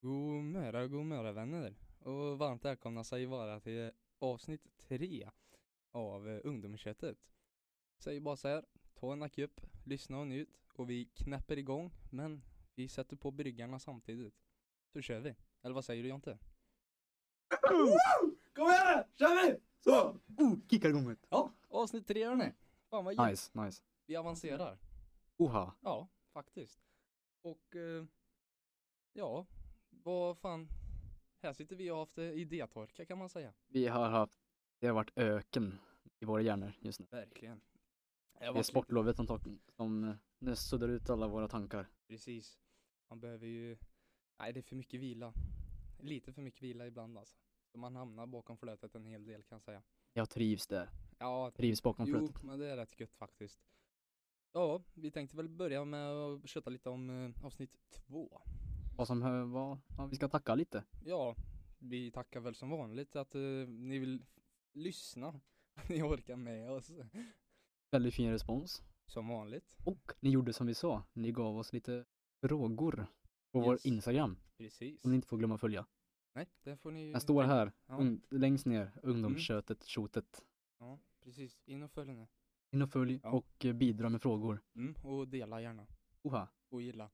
God morgon, god morgon vänner och varmt välkomna säger vara till avsnitt tre av eh, Ungdomsköttet. Säger bara så här, ta en akup, lyssna och njut och vi knäpper igång men vi sätter på bryggarna samtidigt. Så kör vi, eller vad säger du Jonte? Kom igen nu, kör vi! Så! Oh, kickar igång det. Ja, avsnitt tre hörni! Fan vad nice. Nice, nice. vi avancerar. Oha. Ja, faktiskt. Och eh, ja, vad fan. Här sitter vi och har haft eh, idétorka kan man säga. Vi har haft, det har varit öken i våra hjärnor just nu. Verkligen. Det är sportlovet som, tok- som eh, nu suddar ut alla våra tankar. Precis. Man behöver ju, nej det är för mycket vila. Lite för mycket vila ibland alltså. Så man hamnar bakom flötet en hel del kan jag säga. Jag trivs där. Ja, Trivs bakom jo, flötet. men det är rätt gött faktiskt. Ja, vi tänkte väl börja med att köta lite om eh, avsnitt två. Vad som hör, vad, ja, vi ska tacka lite. Ja, vi tackar väl som vanligt att eh, ni vill lyssna. Att ni orkar med oss. Väldigt fin respons. Som vanligt. Och ni gjorde som vi sa. Ni gav oss lite frågor på vår Yes. Instagram. Precis. Som ni inte får glömma att följa. Nej, det får ni Den står här, Ja. ung, längst ner. Ungdomskötet, tjotet. Ja, precis. In och följ nu. In och följ Ja. och eh, bidra med frågor. Mm, och dela gärna. Oha. och gilla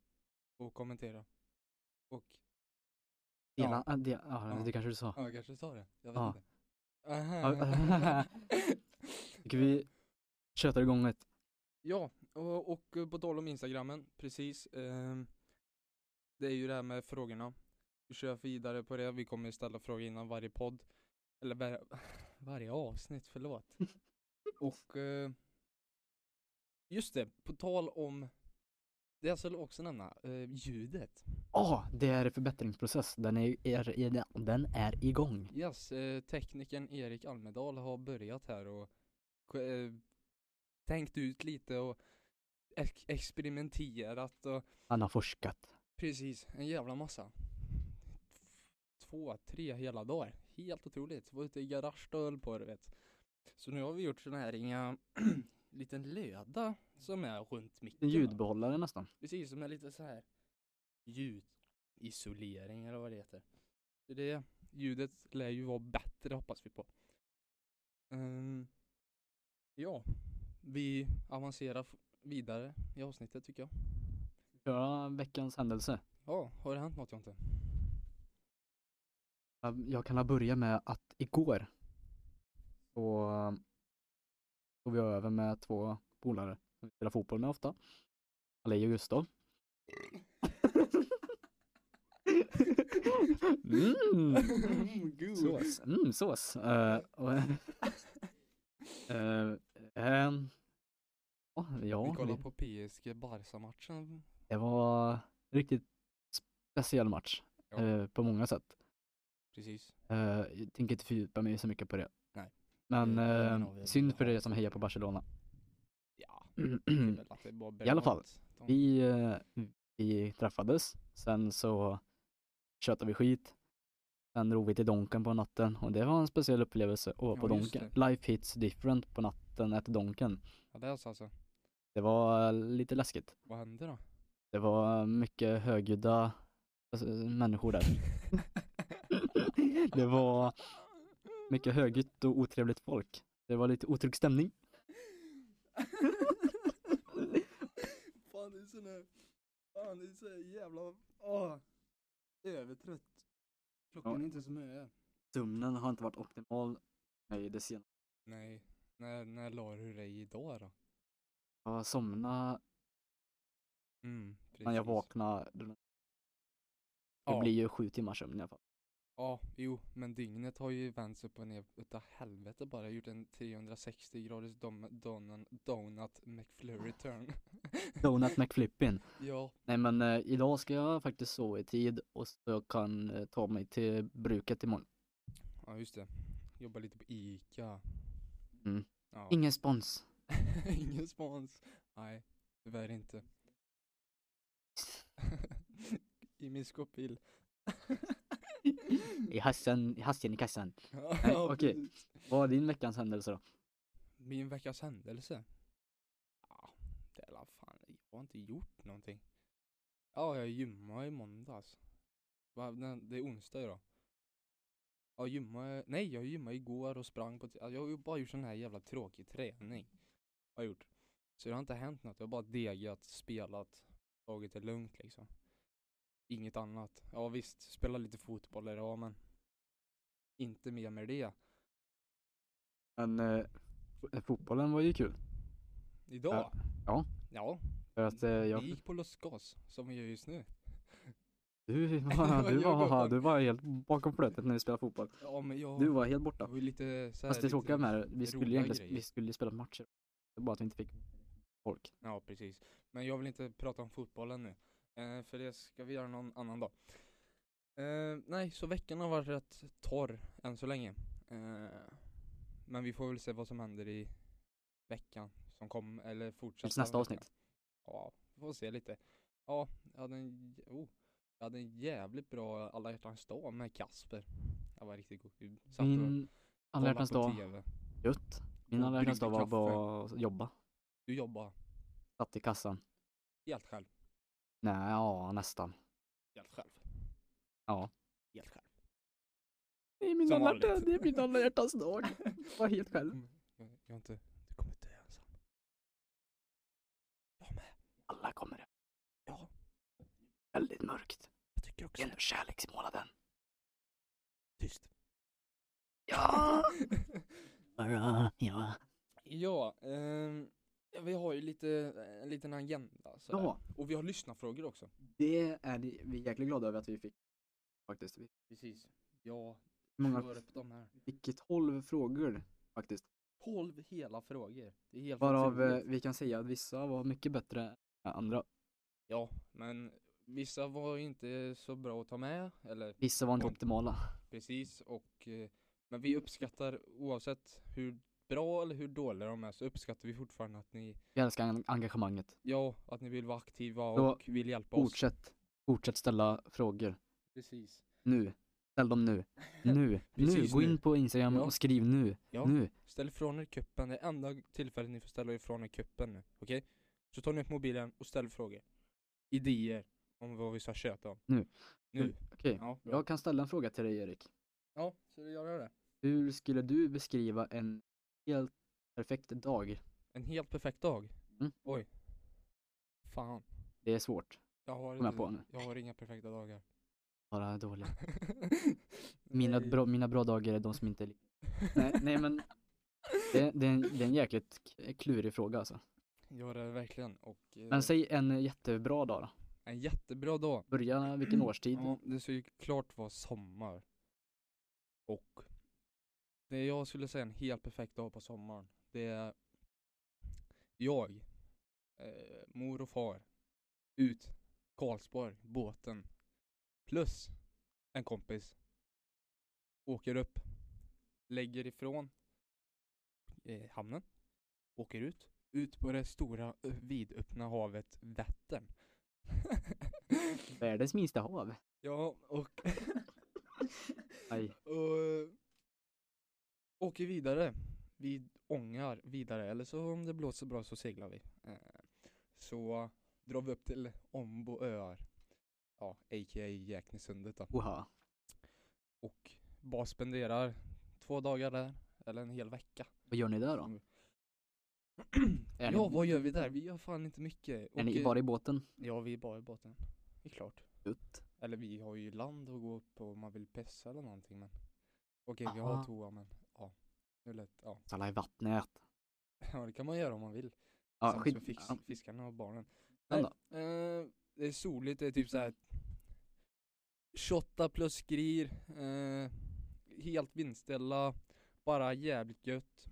och kommentera. Och, Dela, Ja. ja, de, ja, Ja. det kanske du sa. ja, jag kanske sa det. Jag vet Mm. Ja. inte. Aha. Ja. Tycker vi tjötar igång ett ja, och, och eh, på tal om Instagrammen, precis. ehm, det är ju det här med frågorna. Vi kör vidare på det. Vi kommer ställa frågor innan varje podd. Eller var, varje avsnitt, förlåt. Och eh, just det, på tal om det jag skulle också nämna, eh, ljudet. Ja, det är en förbättringsprocess. Den är, är, är, den är igång. Yes, eh, teknikern Erik Almedal har börjat här och k- eh, tänkt ut lite och ex- experimenterat och Han har forskat. precis, en jävla massa. Två, tre hela dagar. Helt otroligt. Var ute i garaget och höll på du vet. Så nu har vi gjort sådana här inga liten löda som är runt En micken. va? ljudbehållare nästan. Precis, som är lite så här ljudisolering eller vad det heter. Så det ljudet lär ju vara bättre hoppas vi på. Ehm, ja, vi avancerar f- vidare i avsnittet tycker jag. Ja, veckans händelse. Ja, har det hänt något Jonte? Jag- Jag kan ha börja med att igår så tog vi över med två polare som vi spelar fotboll med ofta. Alej och Gustav. Mm. god. Sås. Mm, sås. Eh, och, eh, ehm, ja, vi ja, kollar vi- på PSG Barca-matchen. det var riktigt speciell match Ja. eh, på många sätt. Precis. Eh, jag tänker inte fördjupa mig så mycket på det. Nej. Men Det är ingen eh, av er synd som för har- er som hejar på Barcelona. Ja, det är väl att det är bara I alla fall, belönt. De- Vi, eh, vi träffades, sen så tjötade vi skit. Sen drog vi till Donken på natten och det var en speciell upplevelse att vara på Ja, just Donken. Life hits different på natten efter Donken. Ja, det är så alltså. Det var lite läskigt. Vad hände då? Det var mycket högljudda alltså, människor där. Det var mycket högljutt och otrevligt folk. Det var lite otrygg stämning. Fan det är sån här, fan det är så här jävla, åh, övertrött. Klockan Ja. är inte så mycket. Sömnen har inte varit optimal i det senaste. Nej, när, när la du dig idag då? Jag somnade Mm, när jag vaknade. Det ja, blir ju sju timmars sömn i alla fall. Ja, jo, men dygnet har ju vänts upp och ner utav helvete bara. Jag har gjort en 360 graders dom, donan, donut McFlurry turn. Donut McFlippin. ja, Nej men eh, idag ska jag faktiskt sova i tid och så jag kan eh, ta mig till bruket imorgon. ja just det. Jobbar lite på ICA. Mm. Ja. Ingen spons. Ingen spons. Nej, tyvärr inte. I min skåpbil. I hassen, i hassen i kassan. Ja, Nej, okej. precis. Vad är din veckans händelse då? Min veckas händelse? Ja, det är la fan, jag har inte gjort någonting. Ja, jag gymmade i måndags. Va, den, det är onsdag idag. Jag gymmade, nej jag gymmade igår och sprang på, t- jag har ju bara gjort sån här jävla tråkig träning. Har jag gjort. Så det har inte hänt något, jag har bara degat, spelat, tagit det lugnt liksom. Inget annat. Ja visst, spela lite fotboll idag men inte mer med det. Men eh, fo- fotbollen var ju kul. Idag? Ja. Ja, För att eh, jag, vi gick på Los Gas som vi gör just nu. du, var, du, Jag var, var- du var helt bakom flötet när vi spelade fotboll. Ja men jag Du var helt borta. jag var ju lite så här, Fast det tråkiga med det, vi skulle ju roliga egentligen grejer. vi skulle ju spela matcher. Det var bara att vi inte fick folk. Ja, precis. Men jag vill inte prata om fotbollen nu. Eh, för det ska vi göra någon annan dag. Eh, nej, så veckan har varit rätt torr än så länge. Eh, men vi får väl se vad som händer i veckan som kom, eller Tills fortsätter. nästa avsnitt. Ja, vi får se lite. Ja, jag hade en, j- oh, jag hade en jävligt bra alla hjärtans dag med Kasper. Det var riktigt god. Vi satt och Min alla kollade hjärtans på dag, TV. gött. Min och alla hjärtans dag bryggde var kaffe. bara att jobba. Du jobbar Satt i kassan. helt själv. Nej, ja nästan. Helt själv. Ja. Helt själv. Det är min Som alla, vanligt. hjärta- det är min alla hjärtans dag. Var helt Du själv. kommer- Jag, jag har inte, du kommer dö ensam. Jag med. Alla kommer det. Ja. Väldigt mörkt. Jag tycker också Det är ändå kärleksmånaden. Tyst. Ah! Ja! Bara, ja. ja, ehm, ja, vi har ju lite, en liten agenda sådär. Ja, Och vi har lyssnarfrågor också. det är det- vi är jäkligt glada över att vi fick. Faktiskt. Vi- Precis. Ja, Många, för upp de här. fick 12 frågor faktiskt. 12 hela frågor. Det är helt Varav eh, otroligt. vi kan säga att vissa var mycket bättre än andra. Ja, men vissa var ju inte så bra att ta med. Eller Vissa var inte Och- optimala. Precis, och eh, men vi uppskattar oavsett hur bra eller hur dåliga de är så uppskattar vi fortfarande att ni, Vi älskar en- engagemanget. ja, att ni vill vara aktiva Så, och vill hjälpa oss. Fortsätt, fortsätt ställa frågor. Precis. Nu. Ställ dem nu. Nu. nu. Precis Gå nu. in på Instagram Ja. och skriv nu. Ja. Nu. Ställ ifrån er kuppen, det är enda tillfället ni får ställa ifrån er kuppen nu, okej? Så tar ni upp mobilen och ställ frågor. Idéer om vad vi ska köta om. Nu. Nu. Okej. Ja, bra. Jag kan ställa en fråga till dig Erik. ja så du gör det. Hur skulle du beskriva en helt perfekt dag? En helt perfekt dag. Mm. Oj. Fan. Det är svårt. Jag har, Kom jag inte, på nu. jag har inga perfekta dagar. Bara dåliga. Mina, Nej. bra, mina bra dagar är de som inte är li- nej, nej men det, det, är en, det är en jäkligt k- klurig fråga alltså. Ja det är det verkligen och eh, Men säg en jättebra dag då. en jättebra dag. Börja vilken årstid? Ja, det ska ju klart vara sommar. Och det jag skulle säga en helt perfekt dag på sommaren, det är jag, eh, mor och far, ut, Karlsborg, båten, plus en kompis, åker upp, lägger ifrån eh, hamnen, åker ut, ut på det stora ö, vidöppna havet Vättern. Världens minsta hav. Ja, och, Aj. och eh, åker vidare. Vi ångar vidare, eller så om det blåser bra så seglar vi. Eh, Så drar vi upp till Ombo öar. Ja, a.k.a. Jäknesundet då. Oha. Och bara spenderar två dagar där, eller en hel vecka. Vad gör ni där då? Mm. Är ja, ni, vad gör vi där? Vi gör fan inte mycket. eh, är ni Åker- bara i båten? Ja, vi är bara i båten. Det är klart. Ut. Eller vi har ju land att gå upp på om man vill pessa eller någonting men Okej vi har Aha. toa men ja Nu lät, ja. Alla i vattnet. ja det kan man göra om man vill Ja, Sams skit. med fix, ja. fiskarna och barnen Men Nej, eh, det är soligt, det är typ såhär 28 plus skrir eh, Helt vindställa Bara jävligt gött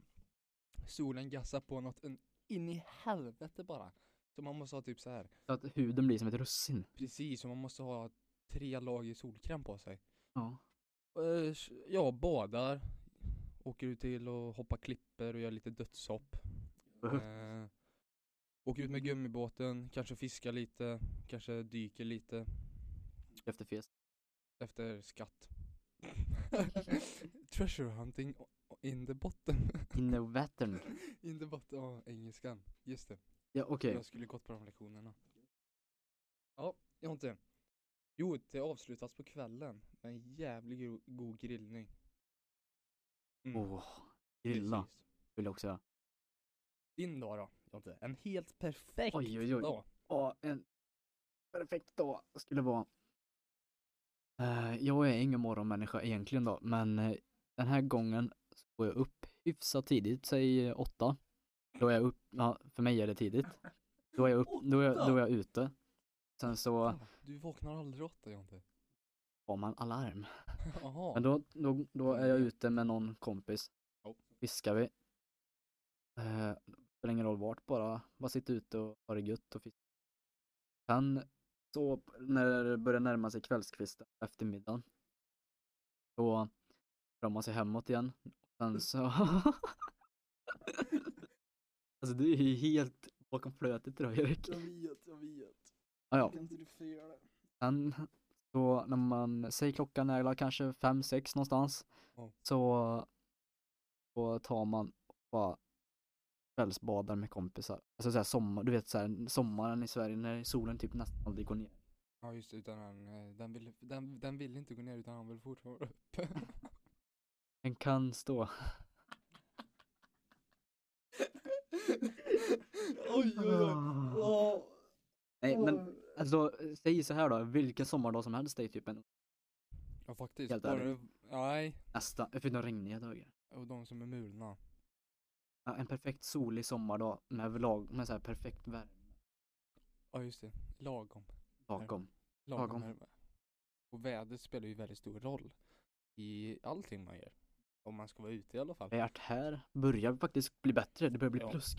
Solen gassar på något en, in i helvete bara Så man måste ha typ så här Så att huden blir som ett russin. Precis, så man måste ha tre lager solkräm på sig Ja. Eh, s- Ja, badar. Åker ut till och hoppar klipper och gör lite dödshopp. Eh, åker ut med gummibåten, kanske fiskar lite, kanske dyker lite Efter fest. efter skatt. Treasure hunting o- o- in the bottom. In the Vättern. in the bottom, ja engelskan. Just det, Ja okej. jag skulle gått på de lektionerna. Ja, jag har inte. Jo, det avslutas på kvällen med en jävligt go- god grillning. Mm, Åh, grilla precis. vill jag också göra. Din dag då, Jonte? En helt perfekt Oj, oj, oj. dag. Ja, en perfekt dag skulle vara. Eh, jag är ingen morgonmänniska egentligen då, men eh, den här gången så går jag upp hyfsat tidigt, säg eh, åtta. Då är jag upp, ja, för mig är det tidigt. Då är jag, upp, då är jag, då är jag ute. Sen så Fan, Du vaknar aldrig åtta Jonte. har man alarm. Jaha. Men då, då, då är jag ute med någon kompis. Ja. Fiskar vi. Eh, spelar ingen roll vart bara. Bara sitta ute och ha det gött och fiska. Sen så p- när det börjar närma sig kvällskvisten, eftermiddagen. Då drar man sig hemåt igen. Sen så... alltså du är ju helt bakom flötet idag Erik. Jag vet, jag vet. Ah, ja. Kan inte du få göra det? Sen så när man, säger klockan är väl kanske fem sex någonstans. Ja. Så, så tar man och bara kvällsbadar med kompisar. Alltså såhär sommar, du vet såhär sommaren i Sverige när solen typ nästan aldrig går ner. Ja just det, utan han, eh, den vill, den, den vill inte gå ner utan han vill fortfarande upp. Den kan stå. Oj, oj, oj. Åh, Nej men åh. alltså säg så här då, vilken sommardag som helst är typ en ja faktiskt. Helt bara ärligt. det- Nej, nästan, förutom regniga dagar. och de som är mulna. Ja, En perfekt solig sommardag med lag, med såhär perfekt värme Ja just det, lagom. bakom. Lagom. Lagom. lagom. Och vädret spelar ju väldigt stor roll i allting man gör. Om man ska vara ute i alla fall. Värt här börjar faktiskt bli bättre, det börjar bli Ja. plus.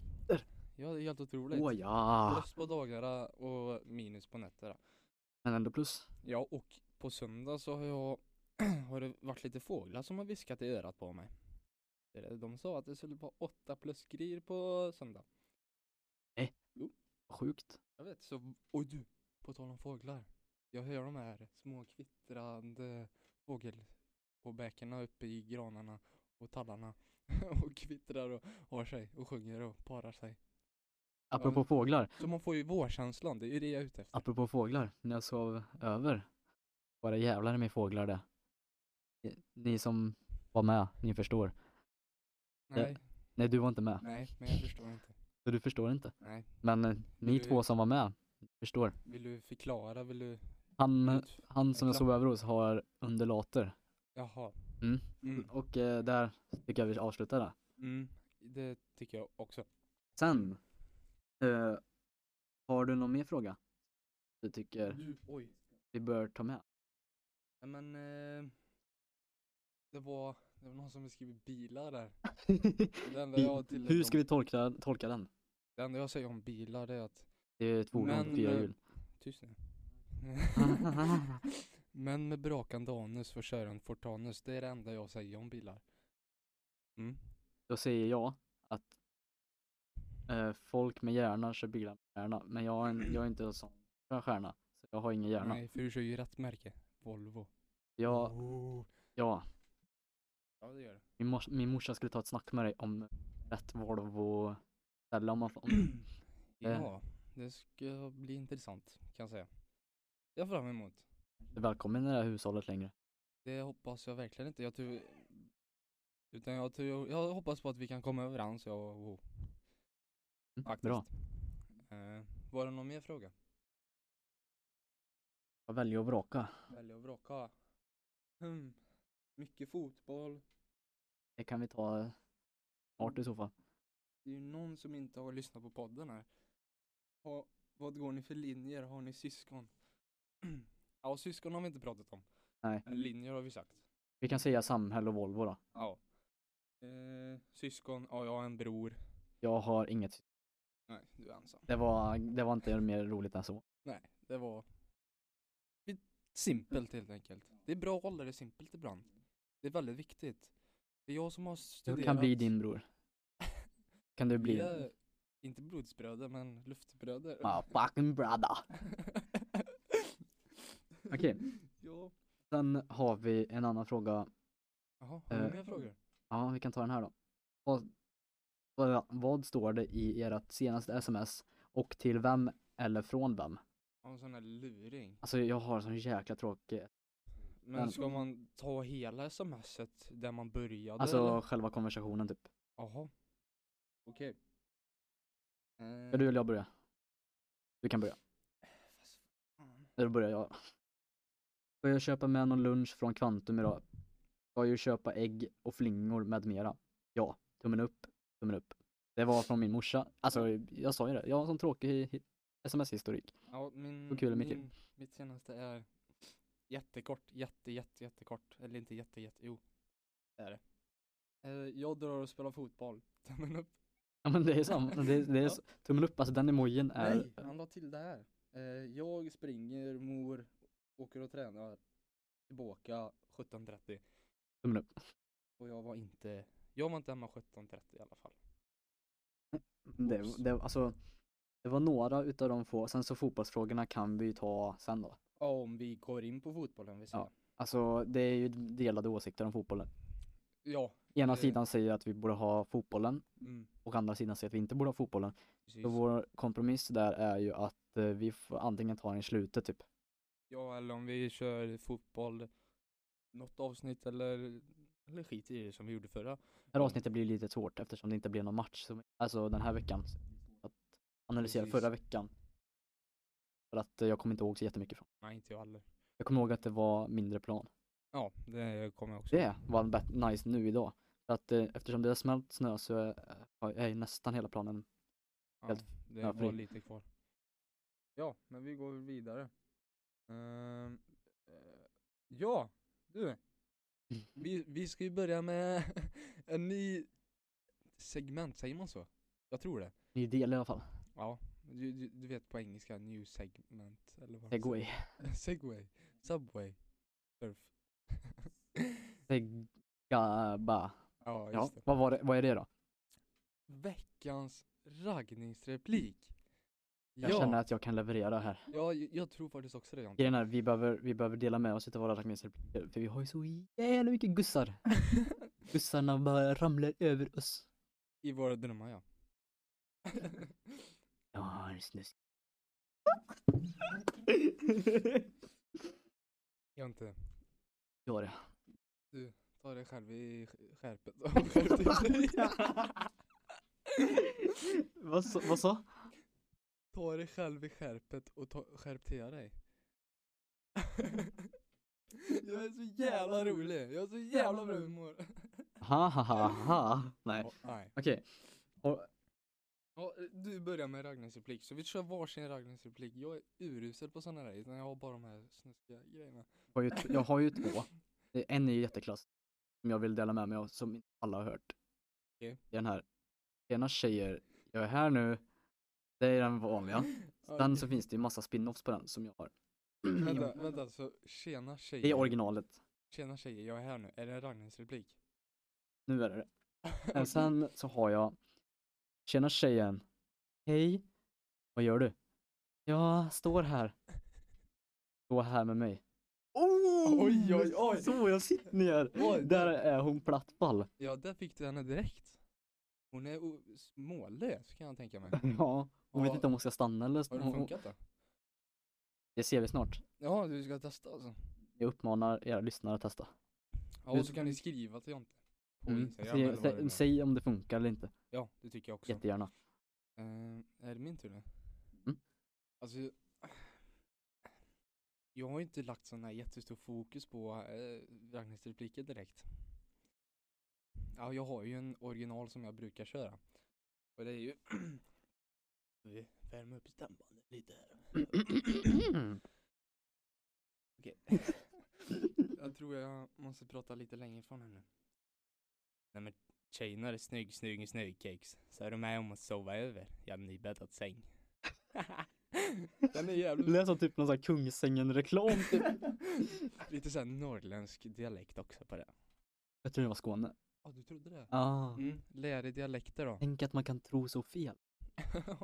Ja det är helt otroligt. Åh ja! Plus på dagarna och minus på nätterna. Men ändå plus. Ja och på söndag så har jag har det varit lite fåglar som har viskat i örat på mig. Det är det- De sa att det skulle vara åtta plus grejer på söndag. Vad Sjukt. Jag vet så, oj du, på tal om fåglar. Jag hör de här små kvittrande fågelpåbäckarna uppe i granarna och tallarna och kvittrar och har sig och sjunger och parar sig. Apropå men- fåglar, Så man får ju vårkänslan, det är ju det jag är ute efter. apropå fåglar, när jag sov över var det jävlar med fåglar det. Ni- Ni som var med, ni förstår. Nej, Nej, du var inte med, nej, men jag förstår inte. så du förstår inte. Nej. Men eh, ni Du- två som var med, förstår. Vill du förklara? Vill du? Han, ut- han som jag Exakt. sov över hos har undulater. Jaha. Mm. Mm. Och eh, där tycker jag vi avslutar det. Mm. Det tycker jag också. Sen, eh, har du någon mer fråga? Du tycker Du, Oj. vi bör ta med? Nej, men eh, det var, det var någon som beskrev bilar där. Det enda jag har tillägg Hur om- ska vi tolka, tolka den? Det enda jag säger om bilar är att Det är ett fordon på Men, fyra eh, hjul. Tyst nu. Men med brakande anus får köraren Fortanus. Det är det enda jag säger om bilar. Mm. Då säger jag att eh, folk med hjärna kör bilar med hjärna. Men jag är, en, jag är inte en sån skön stjärna. Så jag har ingen hjärna. Nej, för du kör ju rätt märke. Volvo. Jag, Oh. ja, Ja, det gör det. min, mors, min morsa skulle ta ett snack med dig om rätt Volvo ställe om man får. Om, Eh. Ja, det ska bli intressant kan jag säga. Det är jag fram emot. välkommen i det här hushållet längre. Det hoppas jag verkligen inte. Jag tror... Utan jag tror... Jag hoppas på att vi kan komma överens, jag och Ho. Mm, Faktiskt. bra. Eh, var det någon mer fråga? Jag väljer att vraka. Välja och vraka. Hmm. Mycket fotboll. Det kan vi ta eh, snart i så fall. Det är ju någon som inte har lyssnat på podden här. Ha, vad går ni för linjer? Har ni syskon? ja, syskon har vi inte pratat om. Nej. Men linjer har vi sagt. Vi kan säga samhälle och Volvo då. Ja. Eh, syskon, ja jag har en bror. Jag har inget. Nej, du är ensam. Det var, det var inte mer roligt än så. Nej, det var lite simpelt helt enkelt. Det är bra att hålla det simpelt ibland. Det är väldigt viktigt. Det är jag som har Du studerat. kan bli din bror. Kan du bli? Vi är inte blodsbröder, men luftbröder. My fucking brother. Okej. Ja. Sen har vi en annan fråga. Jaha, har du Eh, mer frågor? Ja, vi kan ta den här då. Vad, vad, vad står det i ert senaste sms och till vem eller från vem? Ja, en sån här luring. Alltså jag har sån jäkla tråkig, Men Men- ska man ta hela smset där man började alltså eller? själva konversationen typ. Jaha. Okej. Eh, Ska du eller jag börja? Du kan börja. fast fan. Eller börjar jag. Ska jag köpa med någon lunch från Kvantum idag? Ska jag köpa ägg och flingor med mera? Ja. Tummen upp. Tummen upp. Det var från min morsa. Alltså jag sa ju det. Jag har en sån tråkig hi- sms-historik. Ja, min, Vad kul det är, Micke. min, mitt senaste är jättekort, jätte, jätte, jättekort. Eller inte jätte, jätte, jo. Det är det. Eh, jag drar och spelar fotboll. Tummen upp. Ja men det är samma. Det, är- det är, Ja. s- Tummen upp, alltså den emojin är... Nej, han la till det här. Eh, jag springer, mor, åker och tränar. Tillbaka 17.30. Tummen upp. Och jag var inte, jag var inte hemma 17.30 i alla fall. Det, Oops. det, alltså, det var några utav de få, sen så fotbollsfrågorna kan vi ju ta sen då. Ja, om vi går in på fotbollen vi säger. Ja. Alltså det är ju delade åsikter om fotbollen. Ja. Ena Eh. sidan säger att vi borde ha fotbollen Mm, och andra sidan säger att vi inte borde ha fotbollen. precis. Så vår kompromiss där är ju att eh, vi får antingen ta den i slutet typ. Ja, eller om vi kör fotboll något avsnitt eller, eller skit i det som vi gjorde förra. Det här avsnittet blir lite svårt eftersom det inte blev någon match som, alltså den här veckan. Så Att analysera Precis. förra veckan. För att eh, jag kommer inte ihåg så jättemycket från. Nej, inte jag heller. Jag kommer ihåg att det var mindre plan. Ja, det kommer jag också. Det var bet- nice nu idag. För att eh, eftersom det har smält snö så eh, är, är ju nästan hela planen. Ja, helt det ja, var fri. lite kvar. Ja, men vi går vidare. Ehm, eh, ja, du. Vi, vi ska ju börja med en ny segment, säger man så? Jag tror det. Ny del i alla fall. Ja, du, du, du vet på engelska, new segment eller vad Det man går säger. i. Segway, Subway, Surf. Det ga- ba. ja, Ja, just det. vad, var det, vad är det då? Veckans raggningsreplik. Jag ja, känner att jag kan leverera här. ja, jag, jag tror faktiskt också det Jonte. Grejen är, vi behöver, vi behöver dela med oss utav våra raggningsrepliker för vi har ju så jävla mycket gussar. Gussarna bara ramlar över oss. I våra drömmar ja. Jag har en snusk. Jonte, Ja, det. ta dig själv i sk- skärpet. och skärp till dig. vad, så, vad sa? ta dig själv i skärpet och ta, skärp till dig. jag är så jävla rolig, jag är så jävla bra humor. Ha ha ha ha. Nej. Ja, nej. Okej. Och- Ja, eh, du börjar med raggningsreplik, så vi kör varsin raggningsreplik. Jag är urusel på sådana där, utan jag har bara de här snuskiga grejerna. Jag har ju, t- jag har ju två. Det- En är ju jätteklass. Som jag vill dela med mig av, som inte alla har hört. Okej. Det är Den här. Ena tjejer, jag är här nu. Det är den vanliga. Sen så finns det ju massa spin-offs på den som jag har. Vänta, vänta, så tjena tjejer. Det är originalet. Tjena tjejer, jag är här nu. Är det en raggningsreplik? Nu är det det. Okej. Men sen så har jag. Tjena tjejen. Hej. Vad gör du? Jag står här. Stå här med mig. Oh, Oj, oj, oj. Så jag sitter ner. Oj, Där är hon plattfall. Ja, där fick du henne direkt. Hon är o- mållös kan jag tänka mig. Ja. Hon vet Ja. inte om hon ska stanna eller Har det hon- hon- funkat då? Det ser vi snart. Ja, du ska testa alltså. Jag uppmanar era lyssnare att testa. Ja, och så kan ni skriva till Jonte. På Mm. Instagram Säg, eller vad det nu säg, är. säg om det funkar eller inte. Ja, det tycker jag också. Jättegärna. Eh, är det min tur nu? Mm. Alltså, jag- jag har ju inte lagt sån här jättestor fokus på eh, raggningsrepliker direkt. Ja, jag har ju en original som jag brukar köra. Och det är ju... Vi värmer upp stämbandet lite här. Okej. jag tror jag måste prata lite längre ifrån henne. Nej men tjejerna är snygg, snygg, snygg kex. Så är du med om att sova över i en nybäddad säng. Den är jävligt... Lät som typ någon sån här Kungsängen-reklam typ. lite såhär norrländsk dialekt också på det. Jag tror det var Skåne. Ja, du trodde det? Ah. Mm, lär i dialekter då. Tänk att man kan tro så fel.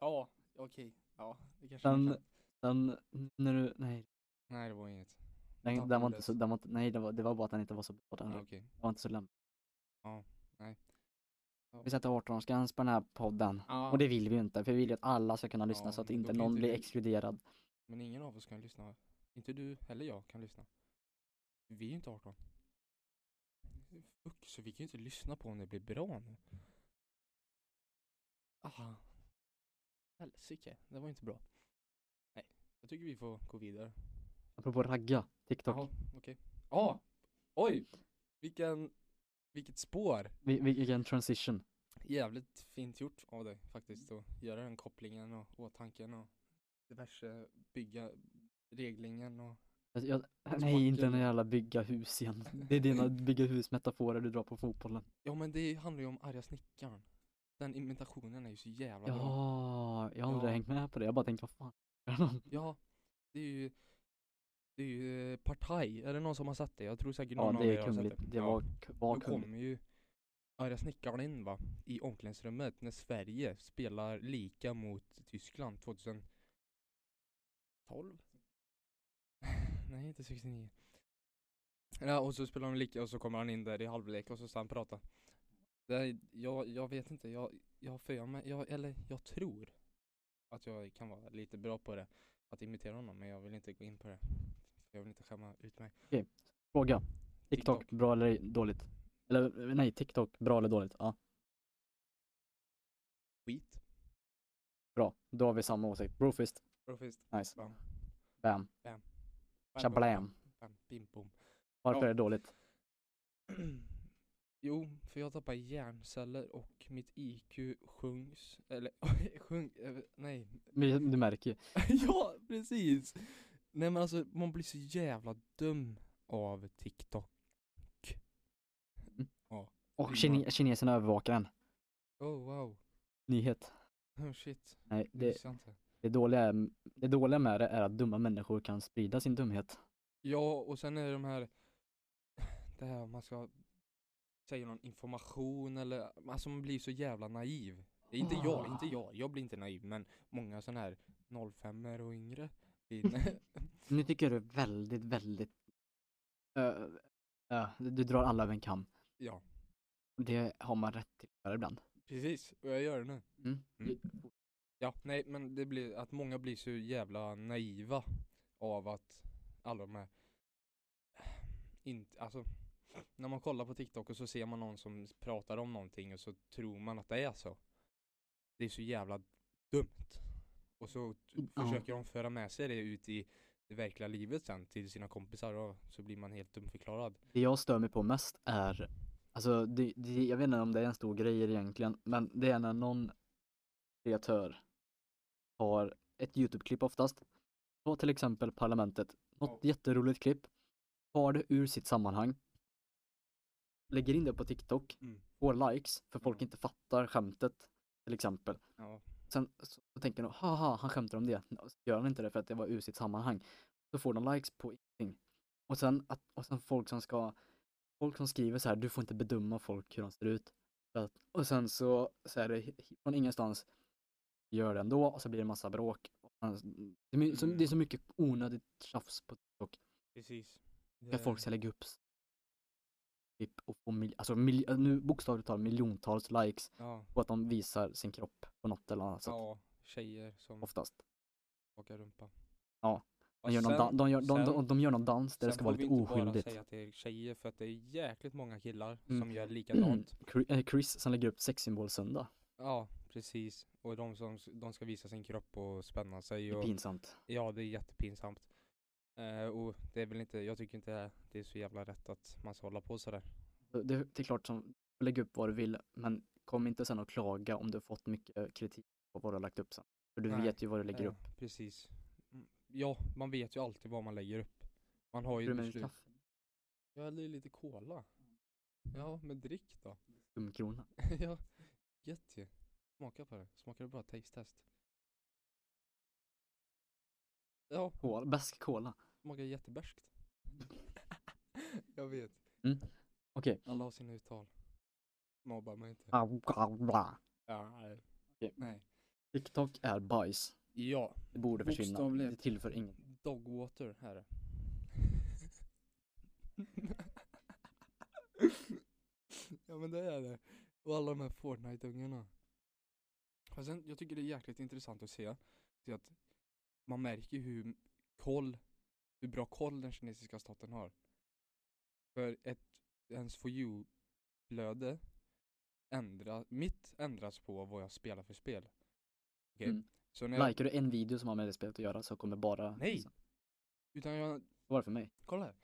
ja, okej. Ja, det kanske man Den, kan. den, när du, nej, Nej, det var inget. den, Tappade den var inte så, det. den var inte, nej det var, det var bara att den inte var så bra den Ja, här. Okej. Det var inte så lämplig. Nej. Ja. Vi sätter 18-årsgräns på den här podden. Ja, Och det vill vi ju inte, för vi vill ju att alla ska kunna lyssna Ja, så att då inte kan någon inte blir vi- exkluderad. Men ingen av oss kan lyssna. Inte du eller jag kan lyssna. Vi är ju inte 18. Fuck, så vi kan ju inte lyssna på om det blir bra nu. Aha. Helsike, det var inte bra. Nej, jag tycker vi får gå vidare. Apropå ragga, TikTok. Jaha, okej. Ja, oj! Mm. Vilken, vilket spår. Vi, vi, vilken transition. Jävligt fint gjort av dig faktiskt att göra den kopplingen och åtanken och diverse bygga reglingen och Jag, jag, Smaken. nej, inte den jävla bygga hus igen. Det är dina bygga hus-metaforer du drar på fotbollen. Ja men det handlar ju om arga snickaren. Den imitationen är ju så jävla bra. Ja, jag har aldrig Ja. hängt med på det. Jag bara tänkte, vad fan är det någon? Ja, det är ju det är ju eh, Partaj, är det någon som har sett det? Jag tror säkert Ja, någon av det er är har sett kungligt. Det Ja. var, var Då kungligt. kommer ju arga snickaren in va, i omklädningsrummet när Sverige spelar lika mot Tyskland 2012? Nej, inte 69. Ja, och så spelar de lika och så kommer han in där i halvlek och så ska han prata. Det här, jag, jag vet inte, jag, jag har för mig, jag, eller jag tror att jag kan vara lite bra på det. Att imitera honom, men jag vill inte gå in på det. Jag vill inte skämma ut mig. Fråga. TikTok, TikTok. bra eller dåligt? Eller nej, TikTok, bra eller dåligt? Ja, Skit. bra. Då har vi samma åsikt. Brofist, Brofist. nice. Bam. Bam. Shablam. Bam, bim, bom. Varför Ja. är det dåligt? Jo, för jag tappar hjärnceller och mitt IQ sjunks, eller sjunk, eh, nej. Men Du märker ju. ja, precis! Nej men alltså, man blir så jävla dum av TikTok. Och Det är kine- kineserna övervakar en. Oh wow, Nyhet. oh, shit, Nej, det det, visste jag inte. det, dåliga är, det dåliga med det är att dumma människor kan sprida sin dumhet. Ja, och sen är det de här, det här man ska säga någon information eller, alltså man blir så jävla naiv. Inte jag, inte jag, jag blir inte naiv men många sådana här 05 och yngre blir Nu tycker du väldigt, väldigt... Ö, ö, du drar alla över en kam. Ja, Det har man rätt till att göra ibland. precis. Och jag gör det nu. Mm. Mm. Ja, nej men det blir att många blir så jävla naiva av att alla de här inte, alltså när man kollar på TikTok och så ser man någon som pratar om någonting och så tror man att det är så. Det är så jävla dumt. Och så t- Mm, Ja. försöker de föra med sig det ut i det verkliga livet sen till sina kompisar och så blir man helt dumförklarad. Det jag stör mig på mest är, alltså det, det, jag vet inte om det är en stor grej egentligen, men det är när någon kreatör har ett YouTube-klipp oftast, på till exempel Parlamentet, något jätteroligt klipp, tar det ur sitt sammanhang, lägger in det på TikTok, Mm. får likes, för folk Ja. inte fattar skämtet till exempel. Ja, Sen så så tänker de, haha, han skämtar om det. Och så gör han inte det för att det var ur sitt sammanhang. Så får de likes på ingenting. Och sen, att, och sen folk som ska, folk som skriver så här, du får inte bedöma folk hur de ser ut. För att, och sen så, så är det he- he- från ingenstans, gör det ändå och så blir det massa bråk. Och sen- Det är, my- så, det är så mycket onödigt tjafs på TikTok. precis. Att folk ska lägga upp s- klipp och få mil, alltså mil, nu bokstavligt talat miljontals likes Ja, på att de visar sin kropp på något eller annat sätt. ja, tjejer som Oftast. Skaka rumpa. Ja, Och De gör, någon dan- de, gör, de, sen- de, de gör någon dans där det sen ska vara får vi lite inte bara oskyldigt. säga att det är tjejer för att det är jäkligt många killar Mm. som gör likadant. Chri- eh, Chris som lägger upp sexsymbol söndag. Ja, precis. Och de som s- de ska visa sin kropp och spänna Det sig. är Och, pinsamt. ja, det är jättepinsamt. Eh, och det är väl inte, jag tycker inte det är så jävla rätt att man ska hålla på sådär. Det, det är klart som, lägg upp vad du vill, men kom inte sen och klaga om du har fått mycket eh, kritik på vad du har lagt upp sen. För du Nej, vet ju vad du lägger Ja, upp. Eh, Precis. Mm, Ja, man vet ju alltid vad man lägger upp. Man har Har ju du ett med dig beslut. kaffe? Jag häller i lite cola. Ja, men drick då. Skumkrona. ja, gött ju. Smaka på det. Smakar det bra? Taste test. Ja, Cola. Bäsk cola. smakar jättebärskt. Jag vet. Okej. Alla har sina uttal. Mobba mig inte. Au, au, au. Ja, nej. Okej. Nej. TikTok är bajs. Ja, Det borde försvinna. Bokstavligt. Det tillför inget. dogwater här. är. ja men det är det. Och alla de här Fortnite-ungarna. Och sen, jag tycker det är jäkligt intressant att se, se att man märker hur koll, hur bra koll den kinesiska staten har. För ett ens for you-flöde ändra, mitt ändras på vad jag spelar för spel. Okej? Mm. Så när jag, Likar du en video som har med det spelet att göra så kommer bara... Nej. liksom- utan jag Vad var det för mig? Kolla här.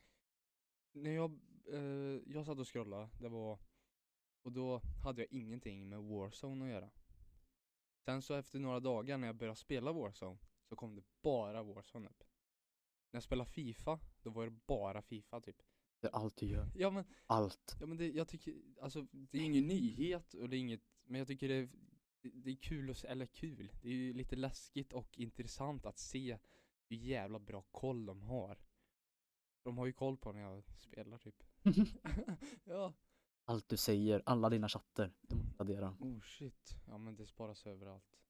När jag, eh, jag satt och scrollade, det var, och då hade jag ingenting med Warzone att göra. Sen så efter några dagar när jag började spela Warzone så kom det bara Warzone upp. När jag spelade FIFA, då var det bara FIFA typ. Det är allt du gör. Ja men, Allt. ja, men det, jag tycker, alltså det är ingen nyhet och det är inget, men jag tycker det är, det- det är kul och, s- eller kul, det är ju lite läskigt och intressant att se hur jävla bra koll de har. De har ju koll på när jag spelar typ. ja. allt du säger, alla dina chatter. Du måste radera. Oh shit. Ja men det sparas överallt.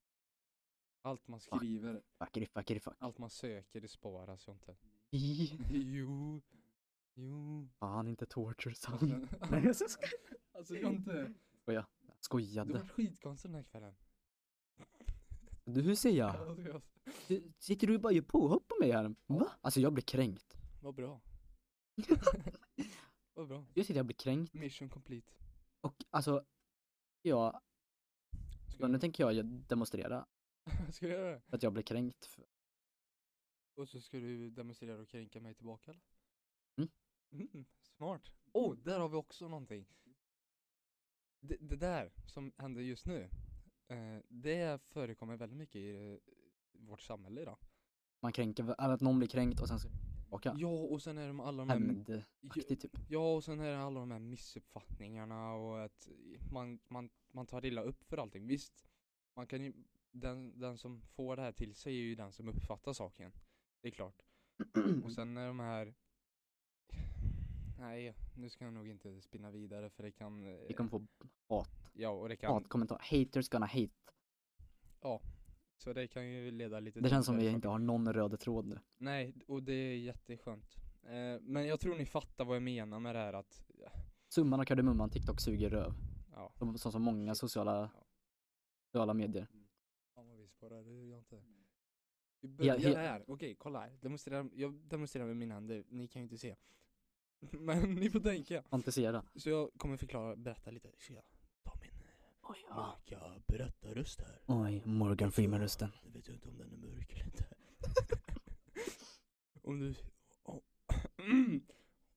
Allt man Fuck. skriver, Fuckity fuckity fuck. allt man söker det sparas ju inte. I- Jo. Jo. Fan inte torture Mm. sound. Nej jag skojar. alltså Jonte, Jag du skojade. var skitkonstig den här kvällen. Alltså, Du, hur ser jag? Ja. det var- Du, sitter du bara och gör påhopp på mig här? Va? Alltså jag blir kränkt. Vad bra. Vad bra. Jag sitter och blir kränkt Mission complete. och alltså, ja, Ska ja, jag, nu tänker jag demonstrera ska jag göra det? att jag blir kränkt. för- Och så ska du demonstrera och kränka mig tillbaka eller? Mm. Mm, smart. Oh, där har vi också någonting. Det, det där som händer just nu, eh, det förekommer väldigt mycket i eh, vårt samhälle idag. Man kränker, vä- eller att någon blir kränkt och sen så tillbaka. Ja, och sen är de alla de här, ja, Hämndaktigt typ. ja, och sen är det alla de här missuppfattningarna och att man, man, man tar illa upp för allting. Visst, man kan ju, den, den som får det här till sig är ju den som uppfattar saken. Det är klart. Mm. Och sen är de här Nej, nu ska jag nog inte spinna vidare för det kan, eh, Vi kommer få hat, Ja, och det kan hatkommentar. Haters gonna hate. Så det kan ju leda lite Det till känns som fel vi saker. inte har någon röd tråd nu. Nej, och det är jätteskönt eh, Men jag tror ni fattar vad jag menar med det här att Summan av kardemumman, TikTok suger röv. Ja, Som, som så många sociala, sociala medier. fan vad vi spårar ur jag inte Vi börjar he- här, okej kolla här demonstrera, Jag demonstrerar med mina händer, ni kan ju inte se Men ni får tänka Fantisera. Så jag kommer förklara, berätta lite Tja, ta min Oj, mörka berättarröst här Oj, Morgan Freeman-rösten. Jag vet ju inte om den är mörk eller inte. om du... o-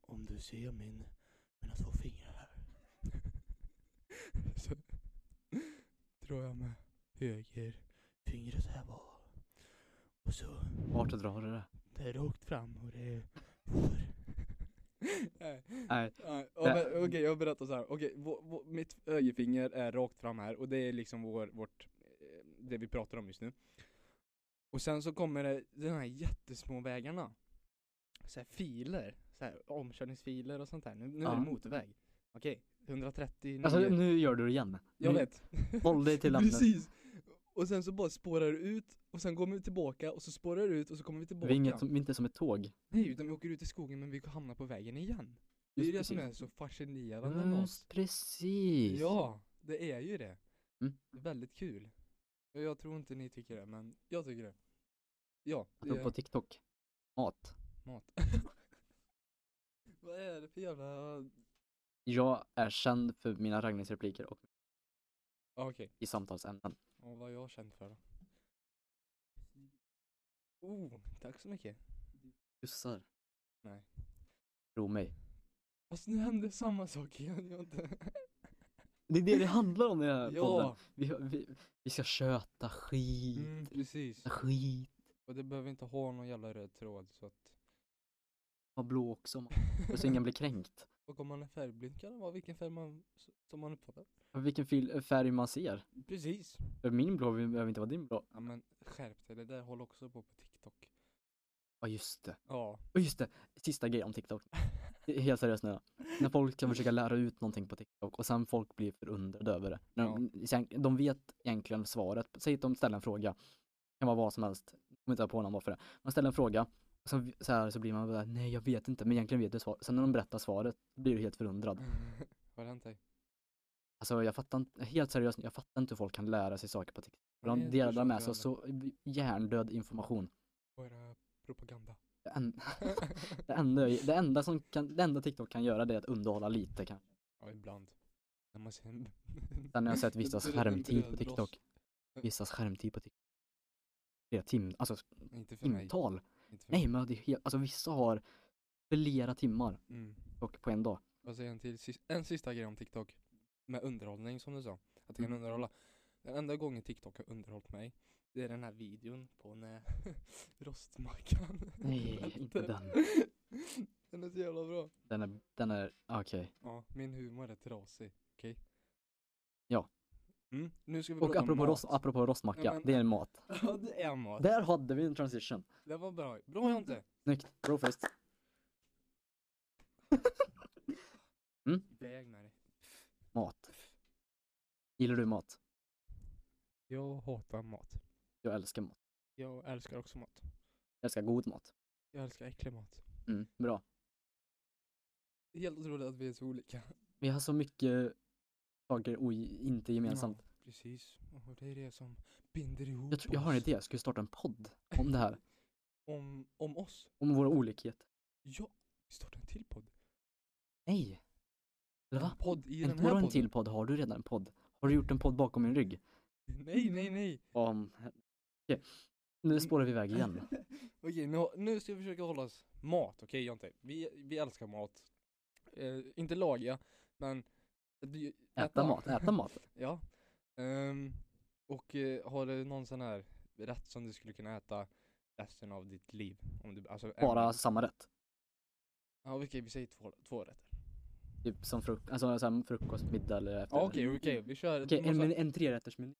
om du ser min, mina två fingrar här. så drar jag med höger fingret här bara. Och så... Vart drar du det? Det är rakt fram och det är... för- Nej, Nej, nej, ja, men Okej, jag berättar så här. Okej, vå- vå- mitt högerfinger är rakt fram här och det är liksom vår, vårt, eh, det vi pratar om just nu. Och sen så kommer det de här jättesmå vägarna. Så här filer, så här omkörningsfiler och sånt här. Nu, nu är Ja. det motorväg. Okej, 130 Alltså nio- nu gör du det igen. Jag Nu- vet. Håll dig till ämnet. Precis. Och sen så bara spårar det ut och sen går vi tillbaka och så spårar det ut och så kommer vi Vi tillbaka. är inget som, vi är inte som ett tåg. Nej, utan vi åker ut i skogen men vi hamnar på vägen igen. Det är ju Just det som är precis. Mm. så fascinerande med oss. Just precis. Ja, det är ju det. Mm. Det är väldigt kul. Och Jag tror inte ni tycker det, men jag tycker det. Ja, det Apropå är TikTok. Mat. mat. Vad är det för jävla... Jag är känd för mina raggningsrepliker och Ah, Okej, i samtalsämnen. och vad är jag känd för då? Oh, tack så mycket. Pussar. Nej. Tro mig. Fast nu hände samma sak igen, jag inte... Det är det det handlar om i den här podden. ja, Vi, vi, vi ska köta skit. mm, precis. Skit. Och det behöver inte ha någon jävla röd tråd så att... Var blå också. man. Och så ingen blir kränkt. Och om man är färgblind kan det vara vilken färg man, s- som man uppfattar. Och Vilken fil- färg man ser. Precis. För Min blå behöver inte vara din blå. Ja men skärp dig, det där håller också på på TikTok. Ja just det. Ja. Och just det, sista grejen om TikTok. Det är Helt seriöst nu. När folk ska försöka lära ut någonting på TikTok och sen folk blir förundrade över det. När de, sen- de vet egentligen svaret. Säg att de ställer en fråga. Det kan vara vad som helst. Jag kommer inte på någon varför det. Man ställer en fråga. Och sen så, här, så blir man bara, nej jag vet inte. Men egentligen vet du svaret. Sen när de berättar svaret blir du helt förundrad. Vad har hänt dig? Alltså jag fattar inte, helt seriöst, jag fattar inte hur folk kan lära sig saker på TikTok. Nej, De det delar förstår med inte sig av jag så hjärndöd information. Bara propaganda. Det, en, det, enda, det, enda som kan, det enda TikTok kan göra det är att underhålla lite kanske. ja, ibland. När man ser en... Sen har jag sett en vissas bröd- en skärmtid på brödrost. TikTok. Vissas skärmtid på TikTok. Flera tim, alltså Inte för mig. timtal. Inte för Nej mig. men det är helt, alltså vissa har flera timmar Mm. och på en dag. Vad säger en till? sis- En sista grej om TikTok. Med underhållning som du sa. Att det kan Mm. underhålla. Den enda gången TikTok har underhållit mig. Det är den här videon på när rostmackan. Nej, inte den. Den är så jävla bra. Den är, den är, ah, okej. Ja, min humor är trasig. Okej? Ja. Mm, nu ska vi Och prata om apropå, mat. rost, apropå rostmacka, Ja, men- det är en mat. Ja, det är mat. Där hade vi en transition. Det var bra. Bra Jonte! Snyggt, bro first. Väg med dig. Mat. Gillar du mat? Jag hatar mat. Jag älskar mat. Jag älskar också mat. Jag älskar god mat. Jag älskar äcklig mat. Mm, bra. Det är Helt otroligt att vi är så olika. Vi har så mycket saker och inte gemensamt. Ja, precis. Och det är det som binder ihop Jag, tror, jag har en oss. idé, jag skulle starta en podd om det här. Om, om oss? Om våra olikheter. Ja! Vi startar en till podd. Nej! Eller va? En podd i En, den här har du podden. en till podd? Har du redan en podd? Har du gjort en podd bakom min rygg? Nej, nej, nej! Om... Okej. Mm. Nu spårar vi iväg igen. Okej, nu, nu ska vi försöka hålla oss mat, okej Jonte? Vi, vi älskar mat. Eh, inte laga, men du- Äta mat, äta mat. Ja. Ehm, och eh, har du någon sån här rätt som du skulle kunna äta resten av ditt liv? Om du, alltså, en- Bara samma rätt. Ja, okej, vi säger två, två rätter. Typ som fruk- alltså, så här, frukost, middag eller Ja, efterrätt. okej, okej, vi kör. du Okej, en, måste- men- en trerättersmeny.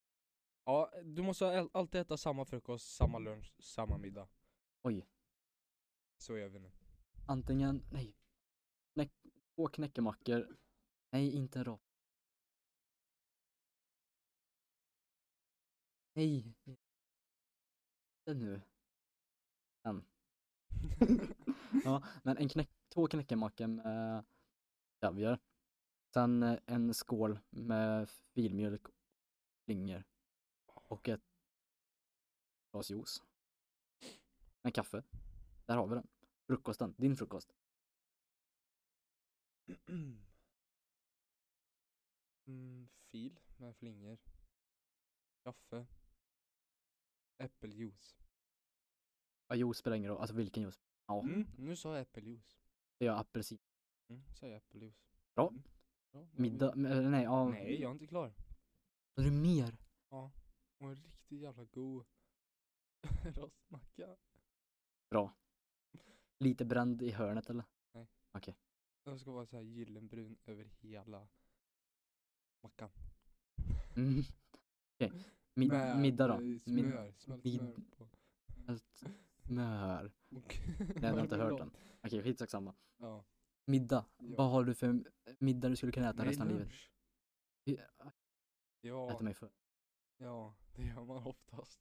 Ja, du måste al- alltid äta samma frukost, samma lunch, samma middag. Oj. Så gör vi nu. Antingen, nej. Knäck, två knäckemackor. Nej, inte en rap. Nej. Det nu. Ja, men en knäck, två knäckemackor med kaviar. Sen eh, en skål med filmjölk och flingor. Och ett glas juice. Med kaffe. Där har vi den. Frukosten, din frukost. mm, fil med flingor. Kaffe. Äppeljuice. Ja, juice spelar ingen roll. Alltså vilken juice? Ja, Mm, nu sa jag äppeljuice. det är apelsin. Mm, sa jag äppeljuice. Bra. Mm. Bra, nu har vi- Middag, m- eller nej, ja. Mm. Nej, jag är inte klar. Är det mer? Och en riktigt jävla god rostmacka. Lite bränd i hörnet eller? Den ska vara så här gyllenbrun över hela mackan. Mm. Okej. Mid- Med, middag då? eh, Mid- Smör, smält mid- smör på. Allt smör. Och- Nej, jag har inte hört marmelad. den. Okej, skitsamma. Ja. Middag. Ja. Vad har du för middag du skulle kunna äta Nej, resten av livet? lunch. Vi- Ja, Äta mig för. ja, det gör man oftast.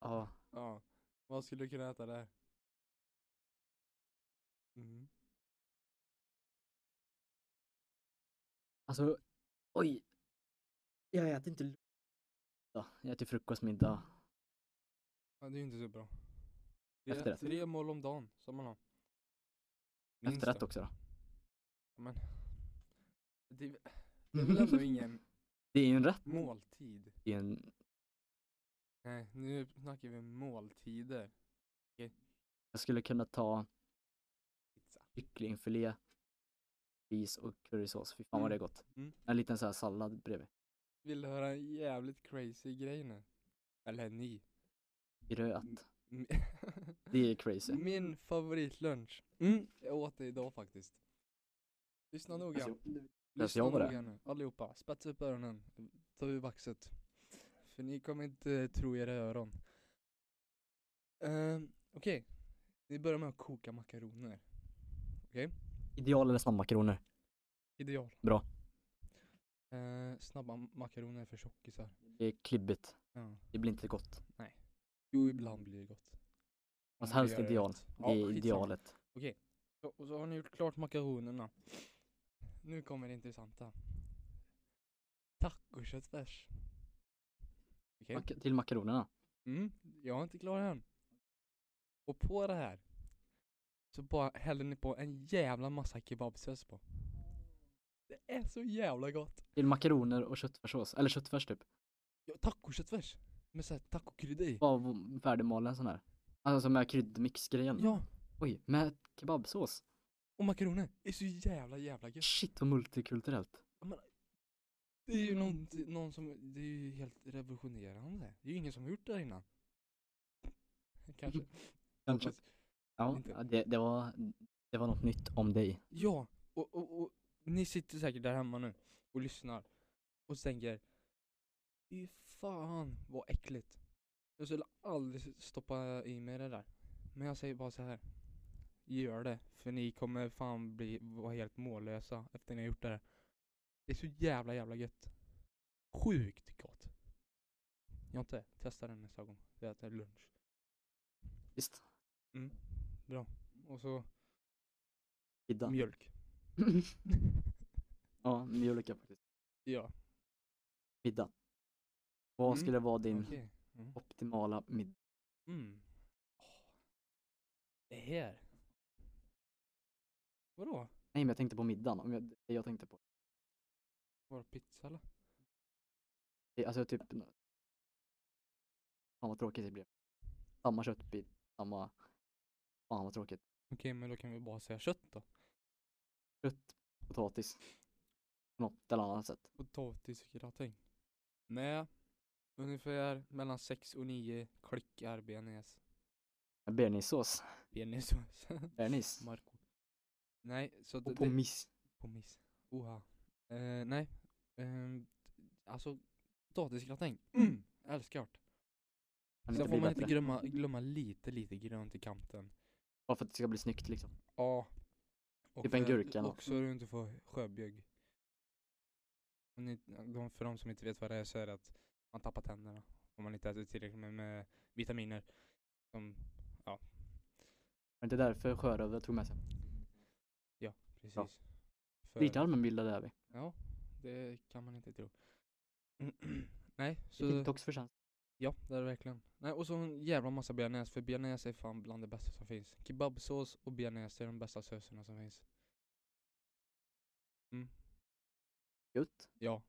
Ja. Ja. Vad skulle du kunna äta där? Mm. Alltså, oj. Jag äter inte lunch. Ja, Jag äter frukost, middag. Ja, det är ju inte så bra. Tre, Efterrätt. tre mål om dagen som man har. Minst Efterrätt då. också då. Men, det, är- det är väl ändå ingen Det är ju en rätt. måltid? Det är en... Nej, nu snackar vi måltider. Jag skulle kunna ta Pizza. kycklingfilé, ris och currysås. Fy fan vad det är gott. Mm. En liten så här sallad bredvid. Vill du höra en jävligt crazy grej nu? Eller ni. Gröt. Mm. Det är crazy. Min favoritlunch. Mm. Jag åt det idag faktiskt. Lyssna noga. Alltså, Läs Lyssna jag på det? noga nu, allihopa. Spetsa upp öronen. Ta ur vaxet. För ni kommer inte tro era öron. Ehm, Okej. Ni börjar med att koka makaroner. Ideal eller snabbmakaroner? Ideal. Bra. Ehm, snabba makaroner för tjockisar. Det är klibbigt. Ja. Det blir inte gott. Jo, ibland blir det gott. Om Fast man helst gör det ideal. rätt. Det Ja, är skitsamma. idealet. Så, och så har ni gjort klart makaronerna. Nu kommer det intressanta. Tacoköttfärs. Okej. Mac- till makaronerna. Mm, jag är inte klar än. Och på det här så bara häller ni på en jävla massa kebabsås på. Det är så jävla gott. Till makaroner och köttfärssås. Eller köttfärs typ. Ja, tacoköttfärs. Med såhär tacokrydda i. Bara v- färdigmalen sån här. Alltså med kryddmixgrejen. Ja, Oj, med kebabsås. och makaroner. Det är så jävla jävla gött. Shit vad multikulturellt. Det är ju någon, någon som, det är ju helt revolutionerande. Det är ju ingen som har gjort det här innan. Kanske. Kanske. Hoppas. Ja, inte. ja, det, det, var, det var något nytt om dig. Ja, och, och, och ni sitter säkert där hemma nu och lyssnar och tänker Fy fan vad äckligt. Jag skulle aldrig stoppa i mig det där. Men jag säger bara så här. Gör det, för ni kommer fan bli, vara helt mållösa efter ni har gjort det här. Det är så jävla jävla gött. Sjukt gott. Jag har inte testat den nästa gång. Vi äter lunch. Visst? Mm, bra. Och så Ida. mjölk. ja, mjölka faktiskt. Ja, Middag. Vad Mm, skulle vara din okej. Mm. optimala middag? Mm. Åh. Det här. Vadå? Nej men jag tänkte på middagen. Om jag, det jag tänkte på. Bara pizza eller? Det- Alltså typ. Fan vad tråkigt det blev. Samma köttbit. Samma. Fan vad tråkigt. Okej, men då kan vi bara säga kött då. Kött, potatis. På något eller annat sätt. Potatisgratäng. Med ungefär mellan 6 och 9 klickar bearnaise. Bearnaisesås. Bearnaisesås. Bearnaise. Marco. Nej, så det... Och pommes. Pommes. Oha. Eh, nej. Ehm, alltså, potatisgratäng. Mm! Älskar Sen Kan inte får bli man inte bättre. glömma, glömma lite, lite grönt i kanten. Bara för att det ska bli snyggt liksom. Ja. Och Typ en för- gurka eller Och så är du inte får sjöbjugg. Om ni, de, för de som inte vet vad det är så är det att man tappar tänderna om man inte äter tillräckligt med, med vitaminer. Som, Men det är därför sjörövare tog med sig. precis. Ja. För- Lite allmänbildade är vi. Ja, det kan man inte tro. Nej, Det är så TikToks förtjänst. ja, det är det verkligen. Nej, och så en jävla massa bearnaise, för bearnaise är fan bland det bästa som finns. Kebabsås och bearnaise är de bästa såserna som finns. Mm. Gött. Ja.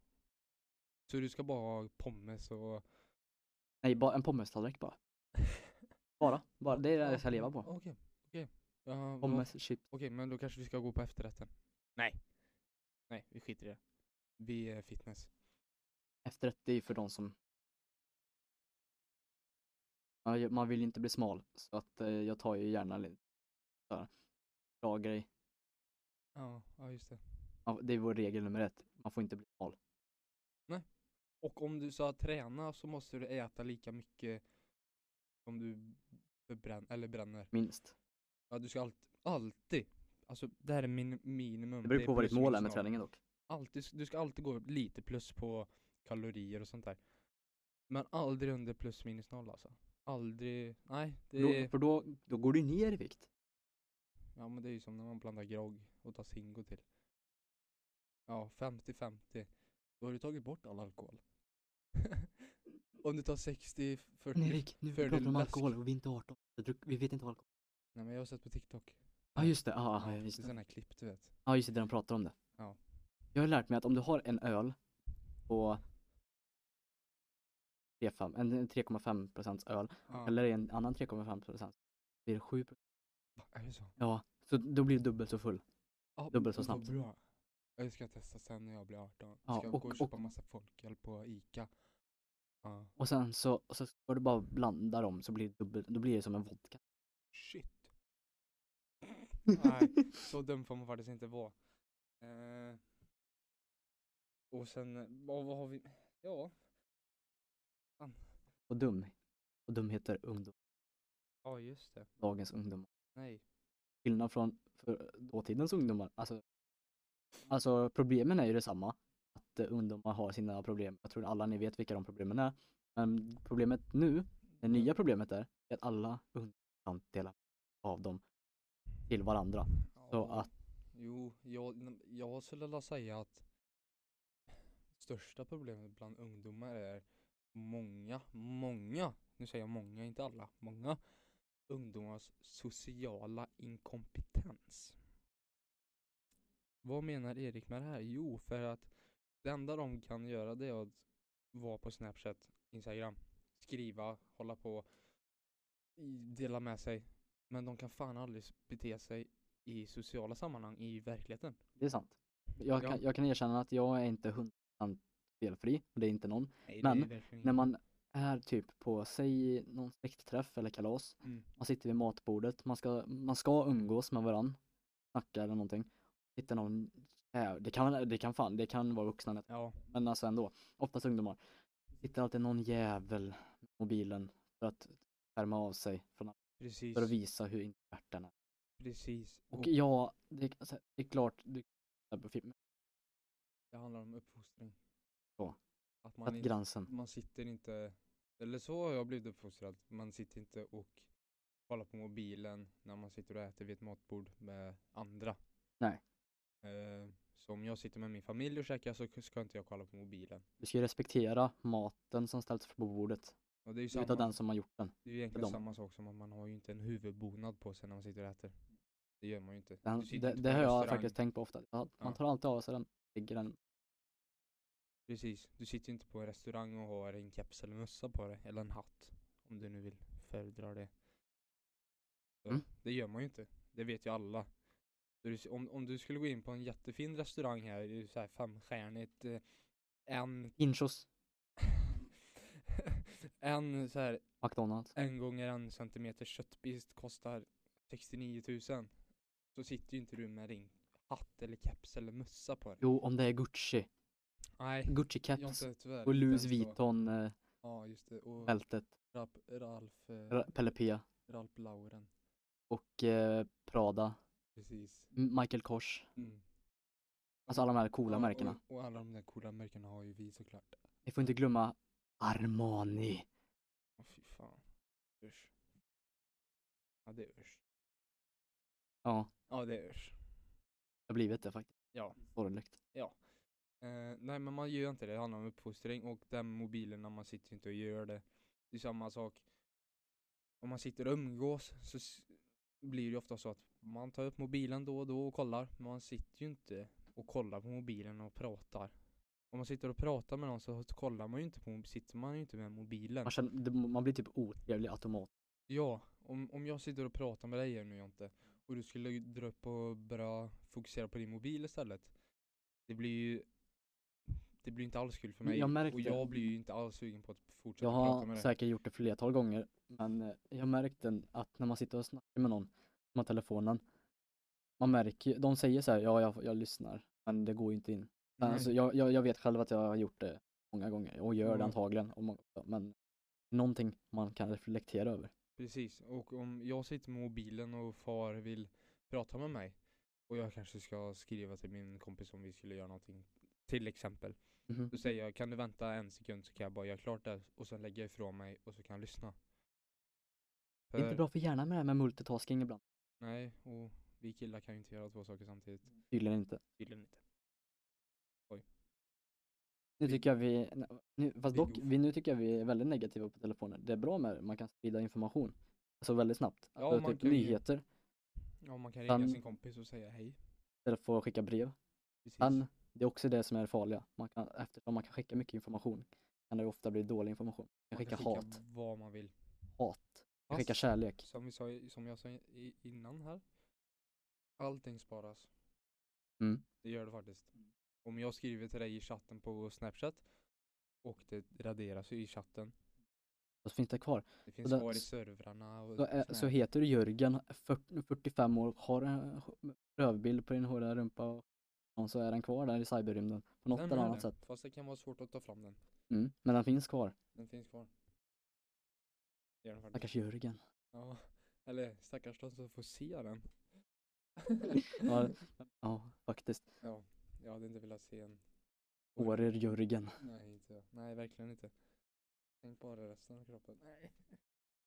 Så du ska bara ha pommes och Nej, bara en pommestallrik bara. Bara. bara. Det är det jag ska leva på. Okej, okej. Ja, vad- Pommes, chips. Okej, men då kanske vi ska gå på efterrätten. Nej. Nej, vi skiter i det. Vi är fitness. Efterrätt, det är ju för de som... Ja, ju- Man vill ju inte bli smal. Så att eh, jag tar ju gärna lite så här, bra grej. Ja, ja just det. Ja, det är vår regel nummer ett. Man får inte bli smal. Och om du ska träna så måste du äta lika mycket som du förbrän- eller bränner. Minst. Ja, du ska alltid, alltid. Alltså det här är min minimum. Det beror på vad ditt plus mål minus är med noll. träningen dock. Alltid, du ska alltid gå lite plus på kalorier och sånt där. Men aldrig under plus minus noll alltså. Aldrig, nej. Det Då, är... för då, då går du ner i vikt. Ja men det är ju som när man blandar grogg och tar Zingo till. Ja, 50-50. Då har du tagit bort all alkohol. om du tar 60-40. Men Erik, nu för pratar vi om läsk. alkohol och vi är inte 18. Vi druck- Vi vet inte vad alkohol Nej men jag har sett på TikTok. Ja ah, just det, ah, ah, Ja, just det är det. sådana här klipp du vet. Ja just det, de pratar om det. Ja. Jag har lärt mig att om du har en öl på 3,5 en- en 3,5 procents öl Ja. eller en annan 3,5 procent blir det 7 Va, Är det så? Ja, så då blir du dubbelt så full. Ja, Dubbelt så vad snabbt. Bra. Jag ska testa sen när jag blir 18. Ja, ska jag och- gå och och- köpa massa folköl på Ica. Ja. Och sen så, och så ska du bara blanda dem så blir det dubbelt, då blir det som en vodka. Shit. Nej. Så dum får man faktiskt inte vara. Eh, och sen, eh, vad vad har vi? Ja. och dum. Och dum heter ungdom, Ja just det. dagens ungdomar. Nej. Skillnad från för dåtidens ungdomar. Alltså, alltså problemen är ju detsamma. Att eh, ungdomar har sina problem. Jag tror alla ni vet vilka de problemen är. Men problemet nu, det nya problemet är, är att alla ungdomar kan dela av dem till varandra. Så Ja, att Jo, jag, jag skulle vilja säga att största problemet bland ungdomar är många, många, nu säger jag många, inte alla, många ungdomars sociala inkompetens. Vad menar Erik med det här? Jo, för att det enda de kan göra det är att vara på Snapchat, Instagram, skriva, hålla på, i- dela med sig. Men de kan fan aldrig s- bete sig i sociala sammanhang i verkligheten. Det är sant. Jag Ja. kan, jag kan erkänna att jag är inte 100% felfri, och det är inte någon. Mm. Men, När man är typ på, säg någon släktträff eller kalas, Mm. man sitter vid matbordet, man ska, man ska umgås med varann, snacka eller någonting. Sitter någon, äh, det kan, det kan fan, det kan vara vuxna, Ja, men alltså ändå, oftast ungdomar. Sitter alltid någon jävel med mobilen för att skärma av sig, från, precis. för att visa hur introvert den är. Precis. Och ja, det, är- alltså, det är klart, det, det handlar om uppfostring. Ja. Att att man, inte, gränsen, man sitter inte, eller så har jag blivit uppfostrad, man sitter inte och kollar på mobilen när man sitter och äter vid ett matbord med andra. Nej. Eh, så om jag sitter med min familj och käkar så k- ska inte jag kolla på mobilen. du ska ju respektera maten som ställs på bordet, Och det är ju samma, utav den som har gjort den. det är ju egentligen dem. samma sak som att man har ju inte en huvudbonad på sig när man sitter och äter. Det gör man ju inte. Den, Du sitter det inte på det en har jag restaurang. faktiskt tänkt på ofta. Att Man Ja. tar alltid av sig den, lägger den. Precis, du sitter ju inte på en restaurang och har en keps eller mössa på dig, eller en hatt. Om du nu vill föredra det. Så, Mm. Det gör man ju inte, det vet ju alla. Så du s- Om, om du skulle gå in på en jättefin restaurang här, det är så här femstjärnigt, eh, en, Inchos, en så här McDonalds. en gånger en centimeter köttbit kostar 69 000. Så sitter ju inte du med din hatt eller keps eller mössa på dig. Jo, om det är Gucci. Nej, Gucci jag caps inte tyvärr. och inte Louis eh, ens då. Vuitton-bältet. Ja, just det. Och Ralf, Ralf, eh, Pelle Pia Ralph Lauren. och eh, Prada. Precis. M- Michael Kors. Mm. Alltså alla de här coola Ja, märkena. Och, och alla de där coola märkena har ju vi såklart. Ni får inte glömma Armani. Åh fy fan. Usch. Ja det är usch. Ja, Ja det är usch. det har blivit det faktiskt. Ja. Sorgligt. Eh, nej men man gör inte det, det handlar om uppfostring och den mobilen när man sitter inte och gör det. Det är samma sak. Om man sitter och umgås så s- blir det ju ofta så att man tar upp mobilen då och då och kollar. Men man sitter ju inte och kollar på mobilen och pratar. Om man sitter och pratar med någon så kollar man ju inte på, sitter man ju inte med mobilen. Man, känner, det- man blir typ otrevlig automatiskt. Ja, om, om jag sitter och pratar med dig här nu Jonte och du skulle dra upp och börja fokusera på din mobil istället. Det blir ju det blir inte alls kul för Men mig jag märkte- och jag blir ju inte alls sugen på att fortsätta Jag prata har med dig. säkert gjort det flertal gånger, men eh, jag har märkt en- att när man sitter och snackar med någon med telefonen, man märker, ju- de säger så här, ja jag, jag lyssnar, men det går ju inte in. Men Nej. Alltså, jag, jag, jag vet själv att jag har gjort det många gånger och gör det Ja. antagligen, och många, men någonting man kan reflektera över. Precis, och om jag sitter med mobilen och far vill prata med mig och jag kanske ska skriva till min kompis om vi skulle göra någonting till exempel. Mhm. Då säger jag kan du vänta en sekund så kan jag bara göra klart det här och sen lägger jag ifrån mig och så kan jag lyssna. Det är För- inte bra för hjärnan med det här med multitasking ibland, Nej, och vi killar kan ju inte göra två saker samtidigt. tydligen inte. Mm, Tydligen inte. Nu Vi- tycker jag vi, nej, nu, fast vi dock, goof. vi, nu tycker jag vi är väldigt negativa på telefoner. Det är bra med det, man kan sprida information. Alltså väldigt snabbt. Ja, alltså, man typ kan ju- nyheter. Ja, man kan ringa Sen- sin kompis och säga hej. istället för att skicka brev. Precis. Men det är också det som är det farliga. Man kan, eftersom man kan skicka mycket information kan det ofta bli dålig information. Man kan skicka hat, vad man vill. hat, man kan skicka Fast, kärlek. som, vi sa, i- som jag sa i, innan här. Allting sparas. Mm. Det gör det faktiskt. Om jag skriver till dig i chatten på Snapchat och det raderas ju i chatten. Och så finns det kvar. Det finns den- kvar i s- servrarna och Så, eh, såna så här. heter du Jörgen, fyrt- 45 år, har en h- rövbild på din hårda rumpa och och så är den kvar där i cyberrymden på något Den eller är annat det, sätt. Fast det kan vara svårt att ta fram den. Mm. Men den finns kvar. Den finns kvar. Det gör den faktiskt. Stackars Jörgen. Ja, eller stackars de som får se den. Ja, ja faktiskt. Ja, jag hade inte velat se en. Oj. Årer Jörgen. Nej, inte jag. Nej, verkligen inte. Tänk bara resten av kroppen. Nej.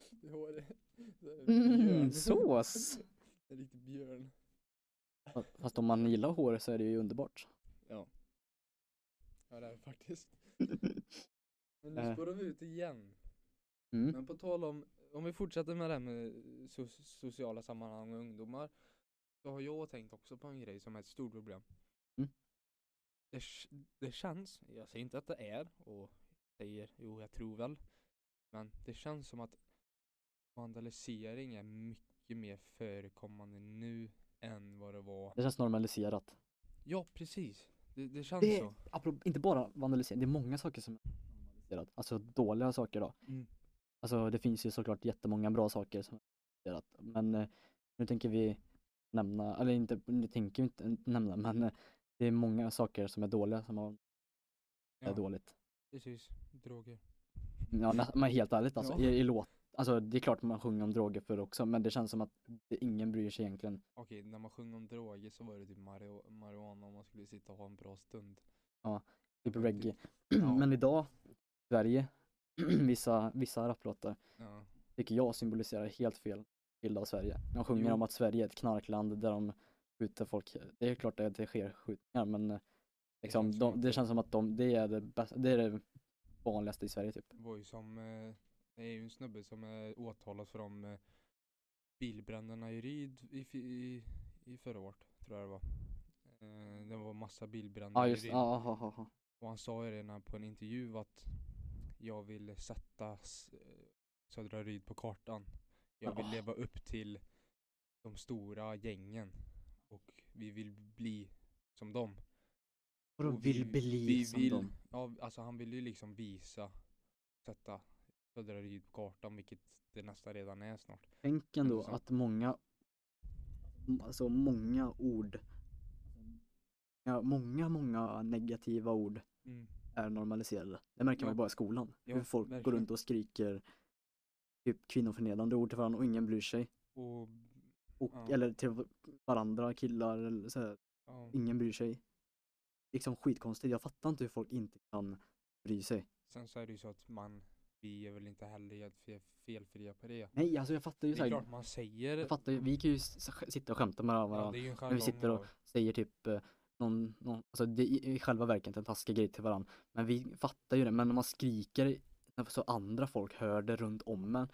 Det är håret. Det är en Mm, björn. sås! En riktig björn. Fast om man gillar hår så är det ju underbart. Ja. Ja det är det faktiskt. Men nu Eh. spårar vi ut igen. Mm. Men på tal om, om vi fortsätter med det här med so- sociala sammanhang och ungdomar. Så har jag tänkt också på en grej som är ett stort problem. Mm. Det, k- det känns, jag säger inte att det är och säger jo jag tror väl. Men det känns som att vandalisering är mycket mer förekommande nu än vad det var. Det känns normaliserat. Ja precis, det, det känns Det- så. Apropå, inte bara vandalisering, det är många saker som är normaliserat. Alltså dåliga saker då. Mm. Alltså det finns ju såklart jättemånga bra saker som är normaliserat. Men eh, nu tänker vi nämna, eller inte, nu tänker vi inte nämna, men eh, det är många saker som är dåliga som har, är Ja. dåligt. Precis, droger. Ja, nä- men helt ärligt alltså, Ja. i, i låt. Alltså det är klart man sjunger om droger för också, men det känns som att det, ingen bryr sig egentligen. Okej, när man sjöng om droger så var det typ mario- marijuana och man skulle sitta och ha en bra stund. Typ Ja, men typ- reggae. ja. Men idag, i Sverige, vissa, vissa rapplåtar, Ja, tycker jag symboliserar helt fel bild av Sverige. De sjunger Jo. om att Sverige är ett knarkland där de skjuter folk. Det är klart att det sker skjutningar, men eh, liksom, känns det, som de, att det det- känns som att de, det är det, bästa, det är det vanligaste i Sverige typ. det var ju som, eh, det är ju en snubbe som är åtalad för de eh, bilbränderna i Ryd i, fi- i, i förra året, tror jag det var. Eh, det var massa bilbränder Ja ah, i just Ryd. det, ah, ah, ah, ah. Och han sa ju redan på en intervju att jag vill sätta s- eh, Södra Ryd på kartan. Jag vill Ja. leva upp till de stora gängen och vi vill bli som dem. Vadå Och vill bli vi som vill, dem? Ja, alltså han vill ju liksom visa, sätta Södra Ryd på kartan, vilket det nästan redan är snart. Tänk ändå Liksom. att många, m- alltså många ord, ja, många, många negativa ord är normaliserade. Det märker man Ja. ju bara i skolan. Ja, Hur folk går verkligen. runt och skriker typ kvinnoförnedrande ord till varandra och ingen bryr sig. Och, Och, Ja. Eller till v- varandra, killar eller så här. ja, Ingen bryr sig. Liksom skitkonstigt. Jag fattar inte hur folk inte kan bry sig. sen så är det ju så att man, vi är väl inte heller helt fe- felfria på det. Nej, alltså jag fattar ju Det är såhär. klart man säger Jag fattar ju, vi kan ju s- s- sitta och skämta med varandra. Ja, det är ju en vi jargong sitter och- då. säger typ eh, någon, någon alltså det är i själva verket inte en taskig grej till varandra. Men vi fattar ju det, men när man skriker när så andra folk hör det runt om en,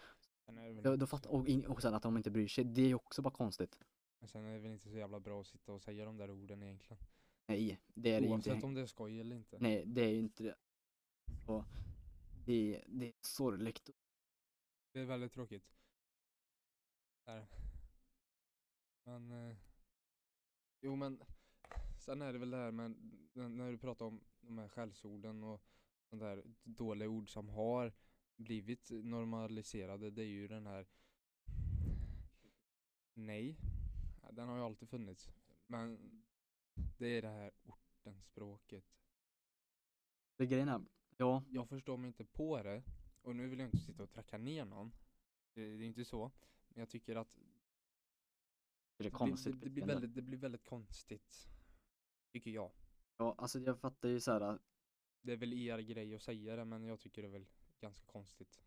Sen är det väl då, då fattar, och, in- och sen att de inte bryr sig, det är ju också bara konstigt. Men sen är det väl inte så jävla bra att sitta och säga de där orden egentligen. Nej, det är det ju Oavsett inte. om det är skoj eller inte. Nej, det är ju inte det. Och det, det är sorgligt. Det är väldigt tråkigt. Där. Men... Eh, jo men, sen är det väl det här med, n- när du pratar om de här skällsorden och sånt där dåliga ord som har blivit normaliserade, det är ju den här Nej, Ja, den har ju alltid funnits. Men det är det här ortenspråket. Det grejen är, ja, jag förstår mig inte på det och nu vill jag inte sitta och tracka ner någon. Det, det är inte så. Men jag tycker att det det, blir- är konstigt. det, det, blir beteende. väldigt, det blir väldigt konstigt. Tycker jag. Ja, alltså jag fattar ju så här, Det är väl er grej att säga det men jag tycker det är väl ganska konstigt.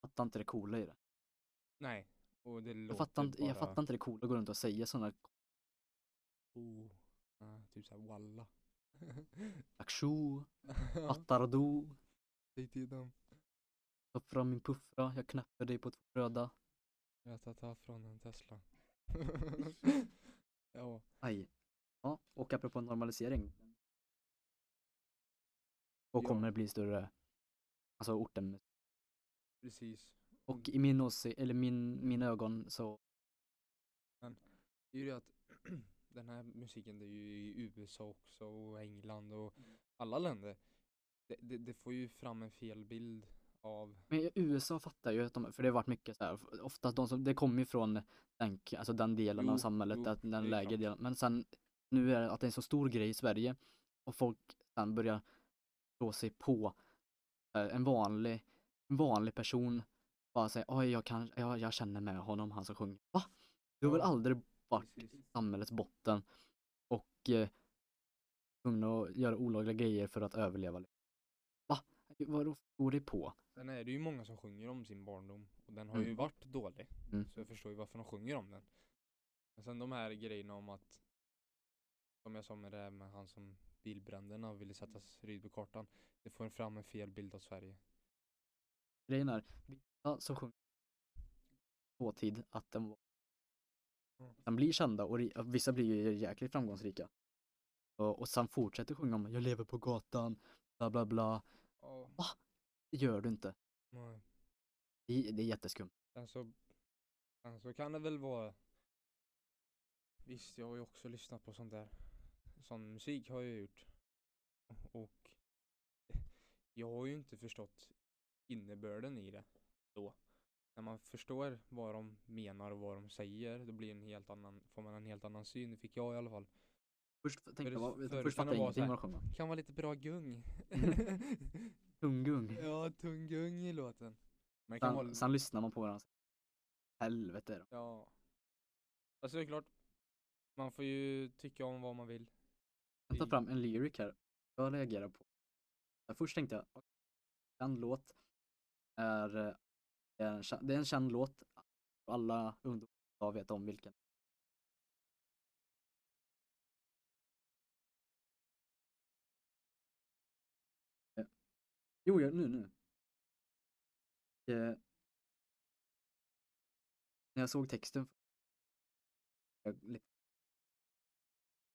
fattar inte det coola i det. Nej. Och det Jag låter fattar, inte, bara... jag fattar inte det coola att gå runt och säga sådana Oh. Ja, typ såhär walla. aktion, Ja, fattar du? Säg till dem. Ta fram min puffra, jag knäpper dig på två röda. Ratata från en Tesla. ja. Aj. Ja, och apropå normalisering. Och Ja. kommer bli större. Alltså orten. Precis. Och i min åsikt, eller min, min ögon så, Det är ju det att den här musiken det är ju i USA också och England och Mm. alla länder. Det, det, det får ju fram en fel bild av, men i USA fattar ju att de, för det har varit mycket så här, oftast de som, det kommer ju från den, alltså den delen av Jo, samhället, jo, att det den är lägre klart. delen, men sen nu är det att det är en så stor grej i Sverige och folk sen börjar slå sig på eh, en vanlig, en vanlig person, bara säger oj jag kan, jag, jag känner med honom, han som sjunger. Va? Du har väl Ja, aldrig varit precis. i samhällets botten och eh, tvungen att göra olagliga grejer för att överleva? liksom. Va? Vadå går det på? sen är det ju många som sjunger om sin barndom och den har ju Mm. varit dålig. Mm. Så jag förstår ju varför de sjunger om den. Men sen de här grejerna om att, som jag sa med det här med han som bilbränderna ville Mm. sätta Ryd på kartan. Det får fram en fel bild av Sverige. Grejen är, vissa som sjunger dåtid att de, Mm. de blir kända och ri- och vissa blir ju jäkligt framgångsrika. Och, och sen fortsätter sjunga om jag lever på gatan, bla bla bla. Ja. Det gör du inte. Nej. Det, det är jätteskumt. Sen så, sen så Alltså, kan det väl vara Visst, jag har ju också lyssnat på sånt där. Sån musik har jag ju gjort. Och jag har ju inte förstått innebörden i det då. När man förstår vad de menar och vad de säger, då blir en helt annan, får man en helt annan syn. Det fick jag i alla fall. Först tänkte För- jag, bara- förr först kan fattade det jag vara så ingenting här. vad de sjöng om. Kan vara lite bra gung. Mm. Tungung. ja, tung gung i låten. Men det kan vara Sen, sen lyssnar man på den och säger, helvete är de Ja. Alltså det är klart, man får ju tycka om vad man vill. Jag tar I- fram en lyric här. Jag reagerar på. Ja, Först tänkte jag, okej, en låt är, eh, en, kä- det är en känd låt. Alla ungdomar idag vet om vilken. Eh, Jo, ja, nu, nu. Eh, När jag såg texten. Jag, li-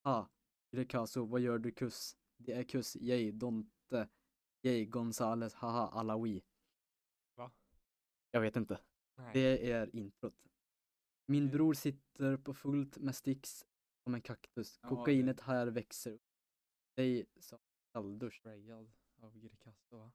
ah, Rekazo, vad gör du kuss? Det är kuss, yay, Donte, yay, Gonzales, haha, Alawi. Va? Jag vet inte. Nej. Det är introt. Min Okej. bror sitter på fullt med sticks som en kaktus. Ja, Kokainet här växer upp. Dig som kalldusch. Sprayad av Greekazo va?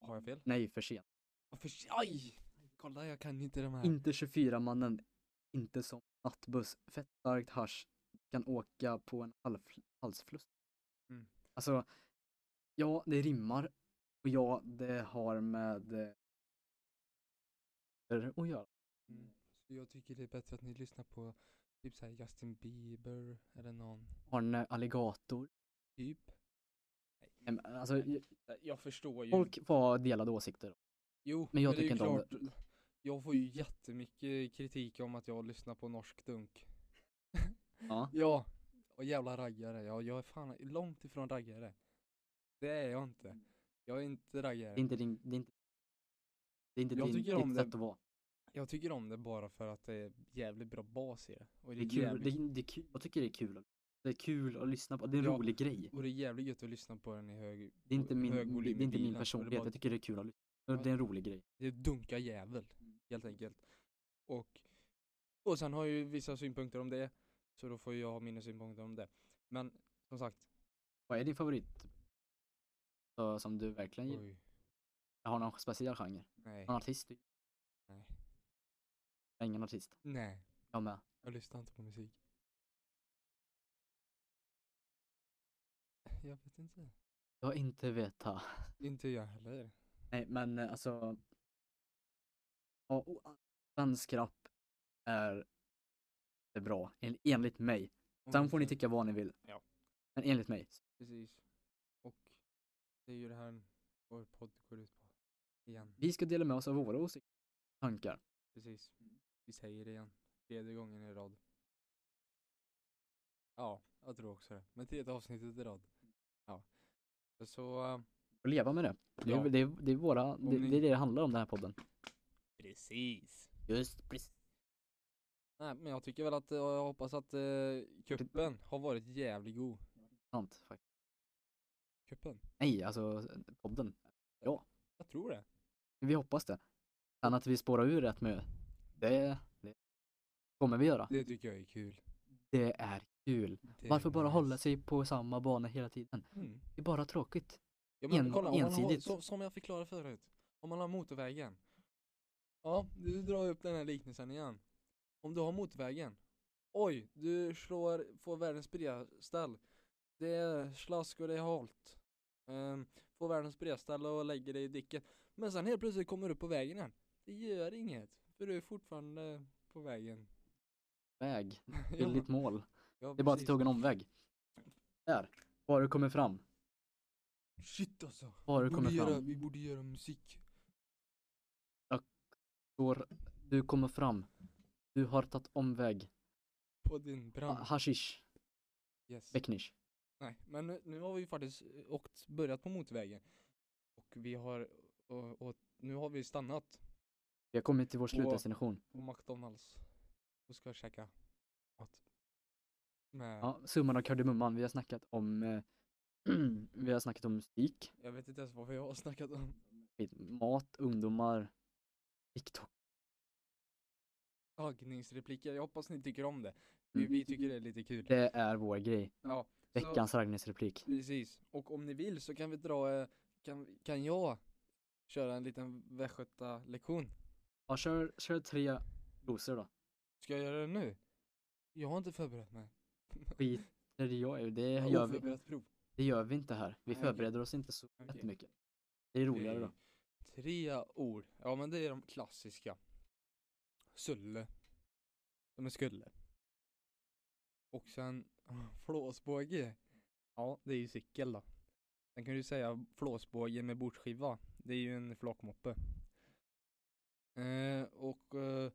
Har jag fel? Nej, för sent. Varför? Aj! Kolla jag kan inte de här. Inte 24-mannen, inte som nattbuss. Fett starkt hasch. Kan åka på en half- halsfluss. Mm. Alltså, ja, det rimmar. Och ja, det har med eh, att göra. Mm. Så jag tycker det är bättre att ni lyssnar på typ såhär Justin Bieber eller någon. Arne eh, Alligator. Typ. Nej, men Alltså, Nej. j- Jag förstår ju. folk får delade åsikter. Jo, Men jag det är ju tycker inte om klart. Jag får ju jättemycket kritik om att jag lyssnar på norsk dunk. Ja. Ja, och jävla raggare. Jag, jag är fan långt ifrån raggare. Det är jag inte. Jag är inte Det är raggare. inte din, det är inte, det är inte Jag din, tycker om ditt det. sätt att vara. Jag tycker om det bara för att det är jävligt bra bas i det. Och Det är kul, jävligt, det, det är kul, jag tycker det är kul. att- Det är kul att lyssna på, det är en Ja. rolig grej. och det är jävligt gött att lyssna på den i hög... Det är inte min, hög volym i det, det är inte bilen, och min det personlighet, bara- jag tycker det är kul att lyssna. Det det är en rolig grej. Det är dunka jävel, Mm. helt enkelt. Och, och sen har jag ju vissa synpunkter om det. Så då får jag ha mina synpunkter om det. Men som sagt, Vad är din favorit? Så, som du verkligen gillar? oj, Jag har någon speciell genre? nej, Någon artist? du- Nej. Jag är ingen artist. nej. Jag med. Jag lyssnar inte på musik. Jag vet inte. Jag inte veta. Inte jag heller. Nej men eh, alltså. Ja, och, ah, svensk rap är det bra, en- enligt mig. Om Sen inte- får ni tycka vad ni vill. Ja. Men enligt mig. Precis. Och det är ju det här vår podd går ut på. Igen. Vi ska dela med oss av våra åsikter, tankar. Precis. Vi säger det igen. Tredje gången i rad. Ja, jag tror också det. Men tredje avsnittet i rad. Ja. Så... eh, Och leva med det. Det är, Ja. det är, det är våra, det, ni- det är det det handlar om den här podden. Precis. Just precis. Nej, men jag tycker väl att, eh, jag hoppas att eh, kuppen har varit jävligt god. Sant faktiskt. Kuppen? Nej, alltså podden. Jag tror det. Vi hoppas det. Sen att vi spårar ur rätt mycket, det, det kommer vi göra. Det tycker jag är kul. Det är kul. Det är Varför bara nice. hålla sig på samma bana hela tiden? Mm. Det är bara tråkigt. Ja, men En- kolla, om man har, ensidigt. som, som jag förklarade förut, om man har motorvägen. Ja, du drar upp den här liknelsen igen. Om du har motorvägen. Oj, du slår, får världens bredaställ. Det är slask och det är halt. Um, får världens bredaställ och lägger dig i diket. Men sen helt plötsligt kommer du på vägen igen. Det gör inget, för du är fortfarande på vägen. Väg, Ja, till ditt mål. ja, Det är bara att precis. du tog en omväg. Där. Bara du kommer fram. Shit alltså. Bara du Borde kommer göra, fram. vi borde göra musik. Går, du kommer fram. Du har tagit omväg. Ah, På din brand. Ha- Hashish. Yes. Becknish. Nej, men nu, nu har vi ju faktiskt eh, åkt, börjat på motorvägen. Och vi har, och, och nu har vi stannat Vi har kommit till vår slutdestination. på McDonalds. Och ska käka mat. Med, Ja, summan av kardemumman. Vi har snackat om eh, vi har snackat om musik, Jag vet inte ens vad vi har snackat om. skit, mat, ungdomar, TikTok. Raggningsrepliker, jag hoppas ni tycker om det. Vi, Mm. vi tycker det är lite kul. Det är vår grej. Ja, så, Veckans raggningsreplik. precis. Och om ni vill så kan vi dra, eh, kan, kan jag köra en liten lektion. Ja, kör, kör tre doser då. Ska jag göra det nu? Jag har inte förberett mig. Skit det gör jag, det Jag har gör, vi, Oförberett prov. det gör vi inte här. Vi Nej, okej. förbereder oss inte så Okej. jättemycket. Det är roligare då. Eh, Tre ord. Ja men det är de klassiska. Sulle. De är skulle. Och sen ah, flåsbåge. Ja det är ju cykel då. Sen kan du säga flåsbåge med bordsskiva. Det är ju en flakmoppe. Eh, och eh,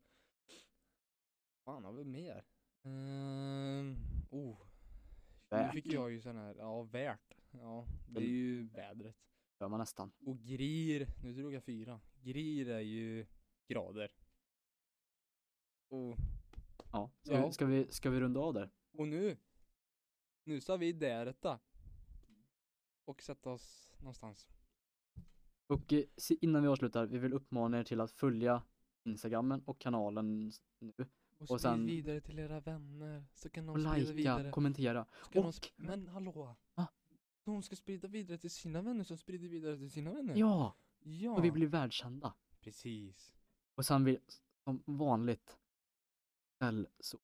fan har vi mer? Eh, oh. Nu Värt. fick jag ju sån här, ja värt. Ja det är Mm. ju vädret. Gör man nästan. Och grir, nu drog jag fyra. Grir är ju grader. Och, Ja. Ska, Ja. Vi, ska, vi, ska vi runda av där? och nu, nu ska vi där detta. Och sätta oss någonstans. Och eh, se- innan vi avslutar, vi vill uppmana er till att följa Instagrammen och kanalen nu. Och, Och sprid sen- vidare till era vänner. Så kan de Och sprida likea, vidare. kommentera. Så kan de och- sp- men hallå! Va? De ska sprida vidare till sina vänner som sprider vidare till sina vänner. Ja, ja. och vi blir världskända. Precis. Och sen vill, som vanligt, ställ så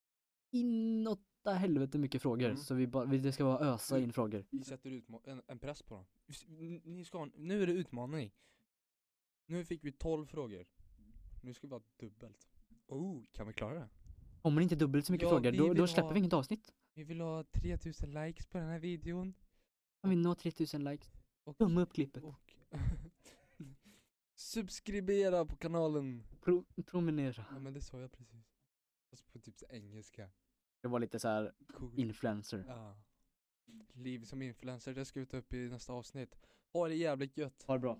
inåtta helvete mycket frågor. Mm. Så vi bara, vi, det ska vara ösa in frågor. Vi sätter utma- en, en press på dem. S- n- Ni ska ha en, nu är det utmaning. Nu fick vi 12 frågor. Nu ska vi ha dubbelt. Oh, kan vi klara det? Kommer det inte dubbelt så mycket Ja, frågor, vi då, då vill släpper ha- vi inget avsnitt. Vi vill ha 3000 likes på den här videon. Om vi når 3000 likes, Och, tumma upp klippet. och subscribera på kanalen. Pro, promenera. Ja men det sa jag precis. Fast på typ så engelska. Det var lite så här Cool. influencer. Ja. Liv som influencer, det ska vi ta upp i nästa avsnitt. Ha det jävligt gött. Ha det bra.